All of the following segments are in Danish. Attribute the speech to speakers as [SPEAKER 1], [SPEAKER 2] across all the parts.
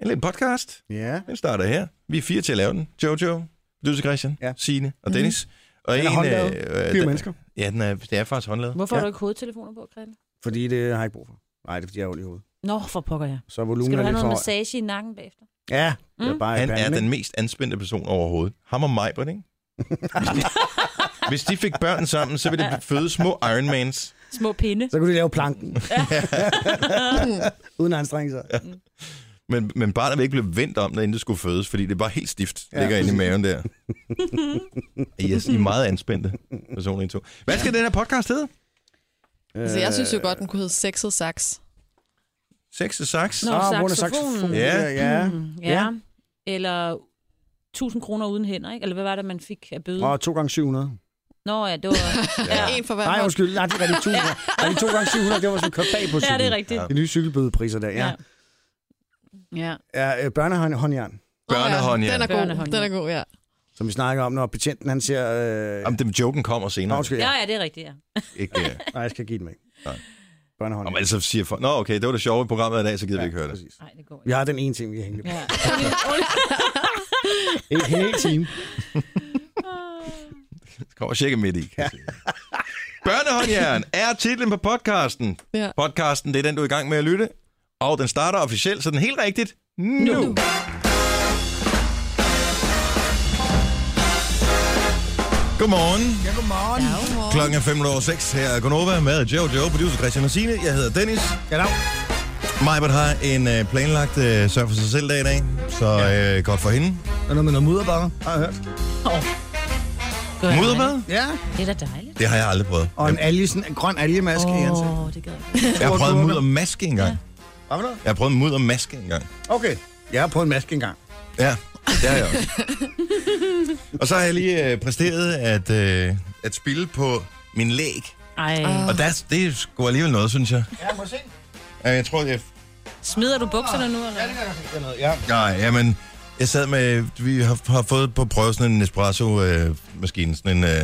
[SPEAKER 1] En lille podcast.
[SPEAKER 2] Ja.
[SPEAKER 1] Den starter her. Vi er fire til at lave den. Jojo, producer Christian,
[SPEAKER 2] Ja.
[SPEAKER 1] ja. Signe og Dennis. Mm. Og
[SPEAKER 2] Den er håndlavet.
[SPEAKER 1] øh,
[SPEAKER 2] Fire
[SPEAKER 1] den-
[SPEAKER 2] mennesker.
[SPEAKER 1] Ja, den er, det er faktisk håndlavet.
[SPEAKER 3] Hvorfor
[SPEAKER 2] Ja.
[SPEAKER 3] ja. har du ikke hovedtelefoner på, Grete?
[SPEAKER 2] Fordi det har jeg ikke brug for. Nej, det er fordi, jeg er ondt i hovedet.
[SPEAKER 3] Nå, for pokker ja.
[SPEAKER 2] Så er volumen
[SPEAKER 3] Skal du
[SPEAKER 2] er
[SPEAKER 3] have
[SPEAKER 2] lidt
[SPEAKER 3] noget
[SPEAKER 2] for høj.
[SPEAKER 3] massage i nakken bagefter?
[SPEAKER 2] Ja, det er
[SPEAKER 3] Mm.
[SPEAKER 2] bare
[SPEAKER 1] Han er
[SPEAKER 2] panden,
[SPEAKER 1] den mest anspændte person overhovedet. Ham og mig, ikke? Hvis de, hvis de fik børn sammen, så ville det føde små Ironmans.
[SPEAKER 3] Små pinde.
[SPEAKER 2] ikke? Så kunne de lave planken. Uden at anstrenge sig.
[SPEAKER 1] Men, men barnet vil ikke blive vendt om, når inden det skulle fødes, fordi det er bare helt stift, ja. ligger inde i maven der. Yes, I er meget anspændte personer, I to. Hvad skal den her podcast hedde?
[SPEAKER 4] Altså,
[SPEAKER 2] Øh,
[SPEAKER 4] jeg synes jo
[SPEAKER 1] Øh.
[SPEAKER 4] godt, den kunne hedde Sexet Sax.
[SPEAKER 1] Sex og saks?
[SPEAKER 3] Nå,
[SPEAKER 2] Ah, hvor er det
[SPEAKER 3] saxofonen.
[SPEAKER 2] saxofon?
[SPEAKER 1] Ja.
[SPEAKER 2] Ja, ja.
[SPEAKER 3] Mm, ja.
[SPEAKER 2] Ja.
[SPEAKER 3] ja. Eller 1000 kroner uden hænder, ikke? Eller hvad var det, man fik af bøde?
[SPEAKER 2] Og 2 gange 700.
[SPEAKER 3] Nå ja, det var...
[SPEAKER 4] Ja. En for hver
[SPEAKER 2] Nej,
[SPEAKER 4] hånd.
[SPEAKER 2] undskyld. Nej, det er de 1000. Ja. De 2 gange 700, det var sådan købt bag på
[SPEAKER 3] ja,
[SPEAKER 2] cyklen.
[SPEAKER 3] det er rigtigt.
[SPEAKER 1] Ja.
[SPEAKER 2] De nye cykelbødepriser der, ja.
[SPEAKER 3] Ja.
[SPEAKER 4] Ja.
[SPEAKER 2] ja. ja børnehåndjern,
[SPEAKER 1] Børnehånd, ja.
[SPEAKER 4] Den er god,
[SPEAKER 3] Børnehånd,
[SPEAKER 4] den
[SPEAKER 3] ja.
[SPEAKER 4] er god, ja.
[SPEAKER 2] som vi snakker om, når betjenten han ser... Øh...
[SPEAKER 1] Jamen, den joken kommer
[SPEAKER 2] Nå,
[SPEAKER 1] senere.
[SPEAKER 2] undskyld,
[SPEAKER 3] Ja,
[SPEAKER 2] ja.
[SPEAKER 3] ja, det er rigtigt, ja.
[SPEAKER 1] Ikke, uh...
[SPEAKER 2] Nej, jeg skal give den med.
[SPEAKER 1] Nej.
[SPEAKER 2] Børnehånd.
[SPEAKER 1] Om altså siger folk, nå okay, det var det sjove i programmet i dag, så gider ja, vi ikke høre det.
[SPEAKER 2] Præcis.
[SPEAKER 3] Nej, det går
[SPEAKER 2] Vi
[SPEAKER 3] ikke.
[SPEAKER 2] har den ene ting, vi har hængt på.
[SPEAKER 3] Ja.
[SPEAKER 2] En hel time.
[SPEAKER 1] Kom og tjekke midt i. kan jeg sige. Børnehåndjern er titlen på podcasten.
[SPEAKER 4] Ja.
[SPEAKER 1] Podcasten, det er den, du er i gang med at lytte. Og den starter officielt, så den er helt rigtigt nu. nu. Godmorgen.
[SPEAKER 2] Ja, godmorgen.
[SPEAKER 1] Klokken er 5.06 her er Gonova med Jojo, producer Christian og Signe. Jeg hedder Dennis.
[SPEAKER 2] Ja, dag.
[SPEAKER 1] Majbert har en øh, planlagt øh, sørg for sig selv dag i dag, så øh, godt for hende.
[SPEAKER 2] Der er noget med noget mudderbader, har jeg hørt.
[SPEAKER 3] Gør jeg
[SPEAKER 1] Muddermad?
[SPEAKER 2] Ja,
[SPEAKER 3] ikke. Det er da dejligt.
[SPEAKER 1] Det har jeg aldrig prøvet.
[SPEAKER 2] og en, alge, sådan en grøn algemaske oh. i ansigtet.
[SPEAKER 3] Åh, det gør jeg ikke.
[SPEAKER 1] Jeg har prøvet muddermaske engang. Ja.
[SPEAKER 2] Hvad med noget?
[SPEAKER 1] Jeg har prøvet muddermaske engang.
[SPEAKER 2] Okay, jeg har prøvet en maske engang.
[SPEAKER 1] Ja, det har jeg også. og så har jeg lige øh, præsteret at, øh, at spille på min læg.
[SPEAKER 3] Ej,
[SPEAKER 1] Og der, det er sgu alligevel noget, synes jeg.
[SPEAKER 2] Ja, må jeg se.
[SPEAKER 1] Øh, Jeg tror, jeg...
[SPEAKER 3] smider du bukserne nu, eller?
[SPEAKER 2] Ja, noget. Ja.
[SPEAKER 1] Nej, jamen... Jeg sad med... Vi har, har fået på prøve sådan en Nespresso-maskine. sådan en, øh,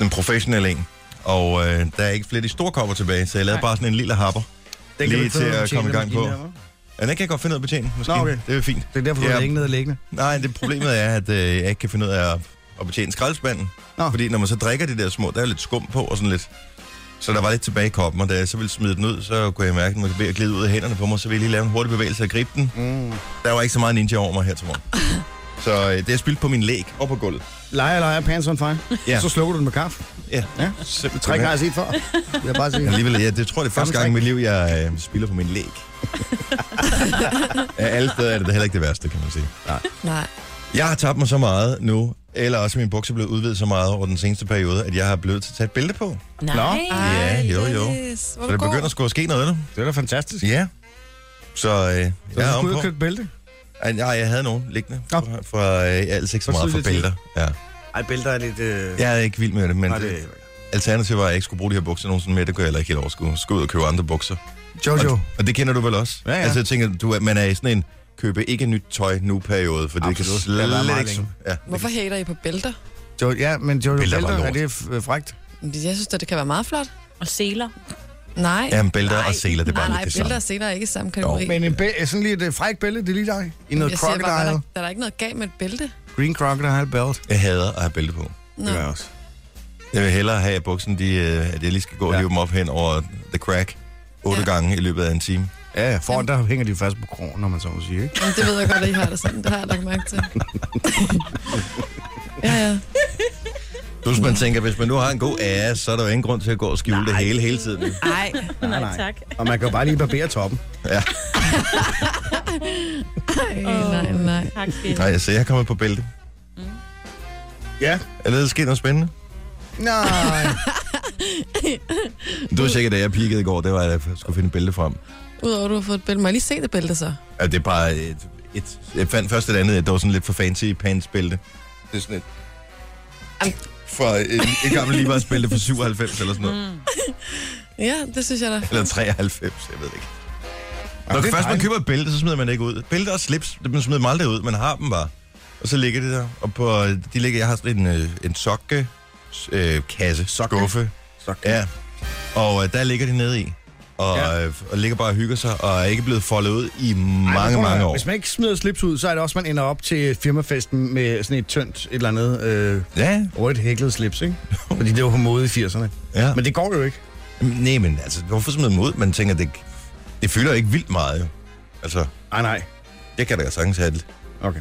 [SPEAKER 1] en professionel en. Og øh, der er ikke flere af de store kopper tilbage, så jeg lavede bare sådan en lille happer.
[SPEAKER 2] Den
[SPEAKER 1] Lige
[SPEAKER 2] du ikke
[SPEAKER 1] til
[SPEAKER 2] finde
[SPEAKER 1] at
[SPEAKER 2] ud af
[SPEAKER 1] komme i
[SPEAKER 2] betjene
[SPEAKER 1] gang
[SPEAKER 2] med maskinen
[SPEAKER 1] på.
[SPEAKER 2] her, hva'?
[SPEAKER 1] Ja, den kan jeg godt finde ud af at betjene, måske.
[SPEAKER 2] Nå, okay.
[SPEAKER 1] Det er fint.
[SPEAKER 2] Det er derfor, du
[SPEAKER 1] Ja.
[SPEAKER 2] har længe nede liggende.
[SPEAKER 1] Nej, det problemet er, at øh, jeg ikke kan finde ud af at, at betjene skraldespanden.
[SPEAKER 2] Nå.
[SPEAKER 1] Nå. Fordi når man så drikker de der små, der er lidt skum på og sådan lidt. Så der var lidt tilbage i koppen, og da jeg så ville smide den ud, så kunne jeg mærke, at den var ved at glide ud af hænderne på mig, så ville jeg lige lave en hurtig bevægelse og gribe den.
[SPEAKER 2] Mm.
[SPEAKER 1] Der var ikke så meget ninja over mig her til morgen. Så øh, det er spildt på min læg og på gulvet.
[SPEAKER 2] Leger, leger, pants on fire.
[SPEAKER 1] Ja.
[SPEAKER 2] Så slukker du den med kaffe.
[SPEAKER 1] Ja,
[SPEAKER 2] Ja.
[SPEAKER 1] simpelthen.
[SPEAKER 2] Træk har jeg set før. Jeg vil bare sige.
[SPEAKER 1] Alligevel, ja, det tror jeg, det er første gang i mit liv, jeg øh, spiller på min læg. Af alle steder er det da heller ikke det værste, kan man sige.
[SPEAKER 4] Nej.
[SPEAKER 1] Jeg har tabt mig så meget nu, eller også min bukser blevet udvidet så meget over den seneste periode, at jeg har blevet til at tage et bælte på.
[SPEAKER 3] Nej.
[SPEAKER 1] Ja, jo, jo.
[SPEAKER 4] Dennis, hvor
[SPEAKER 1] Så det
[SPEAKER 4] god.
[SPEAKER 1] begynder at skulle ske noget, eller?
[SPEAKER 2] Det er da fantastisk.
[SPEAKER 1] Ja. Så øh,
[SPEAKER 2] Så
[SPEAKER 1] jeg
[SPEAKER 2] du
[SPEAKER 1] er om
[SPEAKER 2] skulle ud
[SPEAKER 1] på.
[SPEAKER 2] og købe et bælte?
[SPEAKER 1] Ej, nej, jeg havde nogen liggende
[SPEAKER 2] Nå.
[SPEAKER 1] fra, fra øh, altså ikke så
[SPEAKER 2] Fra
[SPEAKER 1] meget fra
[SPEAKER 2] tidlig tid.
[SPEAKER 1] bælter. Ja.
[SPEAKER 2] Ej, bælter er lidt... Øh...
[SPEAKER 1] Jeg er ikke vild med det, men
[SPEAKER 2] Nej, det...
[SPEAKER 1] det, alternativet var, at jeg ikke skulle bruge de her bukser nogensinde mere. Det kunne jeg heller ikke helt overskue. Skulle ud og købe andre bukser.
[SPEAKER 2] Jojo.
[SPEAKER 1] Og, og det kender du vel også?
[SPEAKER 2] Ja, ja.
[SPEAKER 1] Altså jeg tænker, du, er- man er i sådan en købe ikke nyt tøj nu-periode, for det kan
[SPEAKER 2] Absolut. Det har været
[SPEAKER 1] slet
[SPEAKER 2] meget
[SPEAKER 1] ikke...
[SPEAKER 2] længe.
[SPEAKER 1] Ja.
[SPEAKER 4] Hvorfor hater I på bælter?
[SPEAKER 2] Jo, ja, men Jojo
[SPEAKER 1] Bælter
[SPEAKER 2] bælter,
[SPEAKER 1] er bare
[SPEAKER 2] er
[SPEAKER 1] lort.
[SPEAKER 2] det f- frægt?
[SPEAKER 4] Jeg synes, at det kan være meget flot.
[SPEAKER 3] Og seler.
[SPEAKER 4] Nej.
[SPEAKER 1] Jamen, bælter og seler, det er bare
[SPEAKER 4] nej,
[SPEAKER 1] lidt det
[SPEAKER 4] nej, bælter og
[SPEAKER 1] samme.
[SPEAKER 4] seler er ikke i samme kategori.
[SPEAKER 2] Men en bæ- sådan lige et øh, frækt bælte, det er lige dig. I noget
[SPEAKER 4] jeg siger
[SPEAKER 2] crocodile.
[SPEAKER 4] bare, der, er der, der er ikke noget galt med et bælte.
[SPEAKER 2] Green crocodile belt.
[SPEAKER 1] Jeg hader at have bælte på.
[SPEAKER 4] Nå.
[SPEAKER 2] gør jeg også.
[SPEAKER 1] Jeg vil hellere have at buksen, de, øh, at jeg lige skal gå og
[SPEAKER 2] Ja.
[SPEAKER 1] ja. hive dem op hen over the crack otte
[SPEAKER 4] Ja.
[SPEAKER 1] ja. gange i løbet af en time.
[SPEAKER 2] Ja, ja, foran der hænger de fast på krogen, når man så må sige, ikke?
[SPEAKER 4] Jamen, det ved jeg godt, at I har det sådan. Det har jeg lagt mærke til. ja, ja.
[SPEAKER 1] Plus man tænker, hvis man nu har en god ære, så er der jo ingen grund til at gå og skjule det hele hele tiden.
[SPEAKER 4] Ej.
[SPEAKER 3] Nej, tak.
[SPEAKER 2] Og man kan jo bare lige barbere toppen.
[SPEAKER 1] Ja.
[SPEAKER 4] Ej, nej, nej.
[SPEAKER 3] Tak, skal
[SPEAKER 1] Nej, så jeg er kommet på bælte.
[SPEAKER 2] Ja.
[SPEAKER 1] Er det sket noget spændende?
[SPEAKER 2] Nej.
[SPEAKER 1] Du var sikkert, da jeg peakede i går, det var, at jeg skulle finde et bælte frem.
[SPEAKER 4] Udover at du har fået et bælte. Må jeg lige se det bælte så?
[SPEAKER 1] Altså, det er bare et, et... Jeg fandt først et andet, det var sådan lidt for fancy pants bælte. Det er sådan et...
[SPEAKER 4] Am-
[SPEAKER 1] Fra et, et gammelt Levi's bælte fra 97 eller sådan noget. Mm.
[SPEAKER 4] Ja, det synes jeg da.
[SPEAKER 1] Eller 93, jeg ved det ikke. Når
[SPEAKER 2] det er
[SPEAKER 1] først man
[SPEAKER 2] dejligt.
[SPEAKER 1] køber et bælte, så smider man det ikke ud. Bælte og slips, det- man smider dem aldrig ud. Man har dem bare. Og så ligger det der. Og på, øh, de ligger, jeg har sådan en, øh, en sokke, øh, kasse, sokke. skuffe.
[SPEAKER 2] Sokke.
[SPEAKER 1] Ja. Og øh, der ligger de nede i. og,
[SPEAKER 2] Ja.
[SPEAKER 1] ja. og ligger bare og hygger sig, og er ikke blevet foldet ud i mange,
[SPEAKER 2] Prøv at
[SPEAKER 1] mange
[SPEAKER 2] høre,
[SPEAKER 1] år.
[SPEAKER 2] Hvis man ikke smider slips ud, så er det også, man ender op til firmafesten med sådan et tyndt, et eller andet øh,
[SPEAKER 1] Ja,
[SPEAKER 2] rødt hæklet slips, ikke? Fordi det var på mode i 80'erne.
[SPEAKER 1] ja.
[SPEAKER 2] Men det går jo ikke.
[SPEAKER 1] Nej, men altså, hvorfor smide dem ud? Man tænker, det, det fylder ikke vildt meget, jo. Altså,
[SPEAKER 2] Ah, Nej, nej.
[SPEAKER 1] det kan da sagtens have det.
[SPEAKER 2] Okay.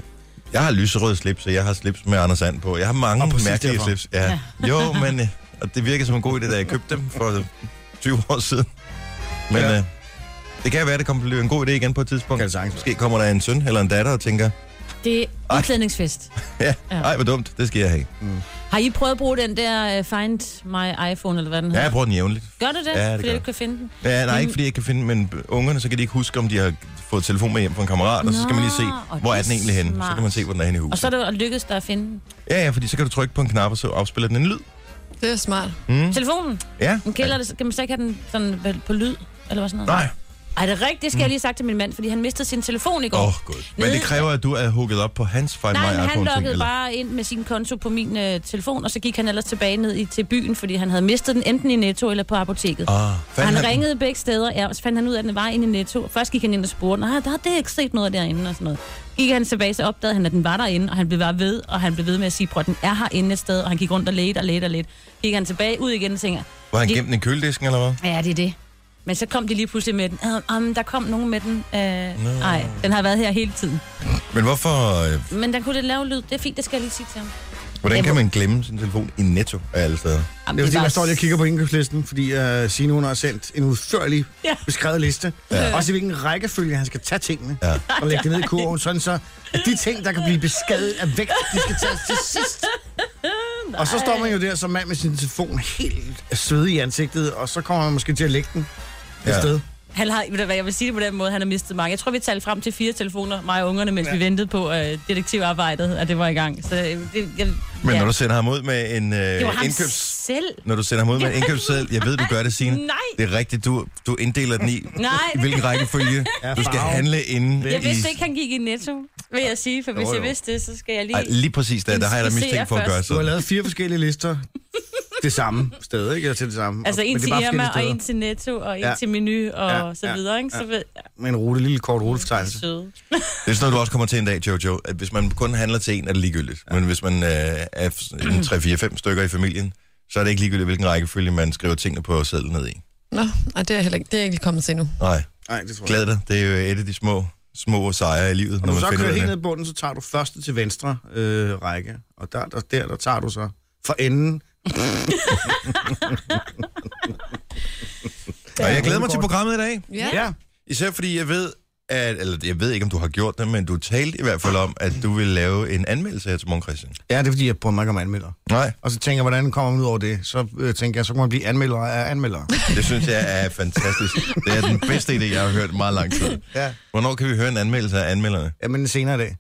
[SPEAKER 1] Jeg har lyserød slips, og jeg har slips med Anders Sand på. Jeg har mange
[SPEAKER 2] Og præcis
[SPEAKER 1] mærkelige
[SPEAKER 2] derfor.
[SPEAKER 1] slips. Ja. Jo, men øh, og det virker som en god idé, da jeg købte dem for 20 år siden. Men
[SPEAKER 2] Ja.
[SPEAKER 1] ja. øh, det kan være, det kommer til at blive en god idé igen på et tidspunkt.
[SPEAKER 2] Kan det sagtens.
[SPEAKER 1] Måske kommer der en søn eller en datter og tænker,
[SPEAKER 3] Det er
[SPEAKER 1] Ej.
[SPEAKER 3] udklædningsfest.
[SPEAKER 1] ja,
[SPEAKER 3] Ja.
[SPEAKER 1] ej, hvor dumt, det skal jeg have.
[SPEAKER 3] Har I prøvet at bruge den der uh, Find My iPhone, eller hvad den
[SPEAKER 1] Ja,
[SPEAKER 3] hedder?
[SPEAKER 1] jeg bruger den jævnligt.
[SPEAKER 3] Gør du det?
[SPEAKER 1] Ja, det
[SPEAKER 3] fordi
[SPEAKER 1] gør
[SPEAKER 3] du
[SPEAKER 1] jeg.
[SPEAKER 3] ikke kan finde den?
[SPEAKER 1] Ja, nej, ikke fordi jeg ikke kan finde, men ungerne, så kan de ikke huske, om de har fået telefon med hjem fra en kammerat, og så skal man lige se,
[SPEAKER 3] Nå, og
[SPEAKER 1] hvor
[SPEAKER 3] det
[SPEAKER 1] er den egentlig henne. Så
[SPEAKER 3] smart.
[SPEAKER 1] kan man se, hvor den er henne i huset.
[SPEAKER 3] Og så er det lykkedes dig at finde den.
[SPEAKER 1] Ja, ja, fordi så kan du trykke på en knap, og så afspiller den en lyd.
[SPEAKER 4] Det er smart.
[SPEAKER 1] Mm.
[SPEAKER 3] Telefonen?
[SPEAKER 1] Ja.
[SPEAKER 3] Den kælder, det, kan man så ikke have den sådan vel på lyd? Eller hvad sådan noget?
[SPEAKER 1] Nej. Mm.
[SPEAKER 3] Ej, det er rigtigt. Det skal jeg lige have sagt til min mand, fordi han mistede sin telefon i går.
[SPEAKER 1] Åh, oh, gud. Men
[SPEAKER 3] Nede-
[SPEAKER 1] det kræver, at du er hugget op på hans Find
[SPEAKER 3] Nej,
[SPEAKER 1] My
[SPEAKER 3] men han
[SPEAKER 1] iPhone ting,
[SPEAKER 3] lukkede
[SPEAKER 1] eller?
[SPEAKER 3] bare ind med sin konto på min øh, telefon, og så gik han ellers tilbage ned i, til byen, fordi han havde mistet den enten i Netto eller på apoteket.
[SPEAKER 1] Ah,
[SPEAKER 3] Og
[SPEAKER 1] fandt
[SPEAKER 3] han,
[SPEAKER 1] den?
[SPEAKER 3] ringede begge steder, ja, og så fandt han ud af, at den var inde i Netto. Først gik han ind og spurgte, nej, der har det ikke set noget derinde og sådan noget. Gik han tilbage, så opdagede han, at den var derinde, og han blev bare ved, og han blev ved med at sige, prøv, den er herinde et sted, og han gik rundt og ledte og ledte og ledte. Gik han tilbage ud igen og tænker,
[SPEAKER 1] Var han
[SPEAKER 3] Gik-
[SPEAKER 1] gemt den i køledisken, eller hvad?
[SPEAKER 3] ja, det er det. Men så kom de lige pludselig med den. "Ah, Um, der kom nogen med den. Øh,
[SPEAKER 1] Nå.
[SPEAKER 3] Nej, den har været her hele tiden.
[SPEAKER 1] Men hvorfor... øh,
[SPEAKER 3] Men den kunne det lave lyd. Det er fint, det skal jeg lige sige til ham.
[SPEAKER 1] Hvordan
[SPEAKER 3] Jeg
[SPEAKER 1] kan
[SPEAKER 3] må-
[SPEAKER 1] man glemme sin telefon i Netto af alle steder?
[SPEAKER 3] Jamen,
[SPEAKER 2] Det er fordi,
[SPEAKER 3] bare
[SPEAKER 2] man står lige og kigger på indkøbslisten, fordi uh, Signe, hun har sendt en udførlig ja.
[SPEAKER 3] Ja.
[SPEAKER 2] beskrevet liste. Ja.
[SPEAKER 1] Ja.
[SPEAKER 2] Også i hvilken rækkefølge han skal tage tingene ja.
[SPEAKER 1] Ja.
[SPEAKER 2] og lægge det ned i kurven, sådan så, at de ting, der kan blive beskadiget af vægt, de skal tages til sidst. Og så står man jo der som mand med sin telefon helt svedig i ansigtet, og så kommer man måske til at lægge den et
[SPEAKER 1] Ja.
[SPEAKER 2] sted.
[SPEAKER 3] Han har, ved du hvad, jeg vil sige det på den måde, han har mistet mange. Jeg tror, vi talte frem til fire telefoner, mig og ungerne, mens ja. vi ventede på øh, detektivarbejdet, at det var i gang. Så øh, det, jeg,
[SPEAKER 1] Men
[SPEAKER 3] ja.
[SPEAKER 1] når du sender ham ud med en
[SPEAKER 3] det var
[SPEAKER 1] øh,
[SPEAKER 3] ham
[SPEAKER 1] indkøbs...
[SPEAKER 3] selv.
[SPEAKER 1] Når du sender ham ud med en indkøbsseddel, jeg ved, du gør det, Signe.
[SPEAKER 3] Nej.
[SPEAKER 1] Det er rigtigt, du, du inddeler den i,
[SPEAKER 3] Nej.
[SPEAKER 1] i hvilken rækkefølge
[SPEAKER 2] Ja,
[SPEAKER 1] du skal
[SPEAKER 2] farve.
[SPEAKER 1] handle inden
[SPEAKER 3] Jeg
[SPEAKER 1] i...
[SPEAKER 3] vidste ikke, han gik i netto, vil jeg sige, for hvis
[SPEAKER 1] Jo,
[SPEAKER 3] jo,
[SPEAKER 1] jo.
[SPEAKER 3] jo. jeg vidste det, så skal jeg lige...
[SPEAKER 1] Ej, lige præcis der, der har jeg da
[SPEAKER 3] Skitserer
[SPEAKER 1] mistænkt for at
[SPEAKER 3] først.
[SPEAKER 1] gøre
[SPEAKER 2] Du har
[SPEAKER 1] sådan.
[SPEAKER 2] lavet fire forskellige lister. Det samme sted, ikke? Eller til det samme.
[SPEAKER 3] altså
[SPEAKER 2] Og-
[SPEAKER 3] en
[SPEAKER 2] men det
[SPEAKER 3] til
[SPEAKER 2] er bare
[SPEAKER 3] Irma, og
[SPEAKER 2] forskellige
[SPEAKER 3] en til Netto, og en
[SPEAKER 2] Ja.
[SPEAKER 3] ja. til Menu, og
[SPEAKER 2] Ja,
[SPEAKER 3] ja. så
[SPEAKER 2] ja,
[SPEAKER 3] videre, ikke? Så
[SPEAKER 2] ja.
[SPEAKER 3] ved jeg,
[SPEAKER 2] steder. Med en rute, lille kort rutefortegnelse.
[SPEAKER 3] søde.
[SPEAKER 1] Det er sådan noget, du også kommer til en dag, Jojo, at hvis man kun handler til en, er det ligegyldigt. Men hvis man øh, er f- en 3-4-5 stykker i familien, så er det ikke ligegyldigt, hvilken rækkefølge man skriver tingene på sædlen ned i.
[SPEAKER 4] Nå, og det er, heller ikke, det er ikke kommet til endnu.
[SPEAKER 1] Nej,
[SPEAKER 2] Nej, det tror jeg.
[SPEAKER 1] glæd dig. Det er jo et af de små, små sejre i livet, når
[SPEAKER 2] Når du
[SPEAKER 1] man
[SPEAKER 2] så
[SPEAKER 1] finder ud
[SPEAKER 2] kører
[SPEAKER 1] af
[SPEAKER 2] helt
[SPEAKER 1] det.
[SPEAKER 2] ned i bunden, så tager du første til venstre øh, række. Og der, der, der, der tager du så for enden.
[SPEAKER 1] Og jeg glæder mig til programmet i dag.
[SPEAKER 4] Ja. ja.
[SPEAKER 2] Ja.
[SPEAKER 1] Især fordi jeg ved, at, eller jeg ved ikke, om du har gjort det, men du talte i hvert fald om, at du vil lave en anmeldelse her til morgen, Christian.
[SPEAKER 2] ja, det er fordi, jeg bruger mig ikke om anmelder.
[SPEAKER 1] Nej,
[SPEAKER 2] Og så tænker jeg, hvordan kommer man ud over det? Så øh, tænker jeg, så kan man blive anmelder af anmelder.
[SPEAKER 1] det synes jeg er fantastisk. Det er den bedste idé, jeg har hørt i meget lang tid.
[SPEAKER 2] ja.
[SPEAKER 1] Hvornår kan vi høre en anmeldelse af anmelderne?
[SPEAKER 2] ja, men senere i dag.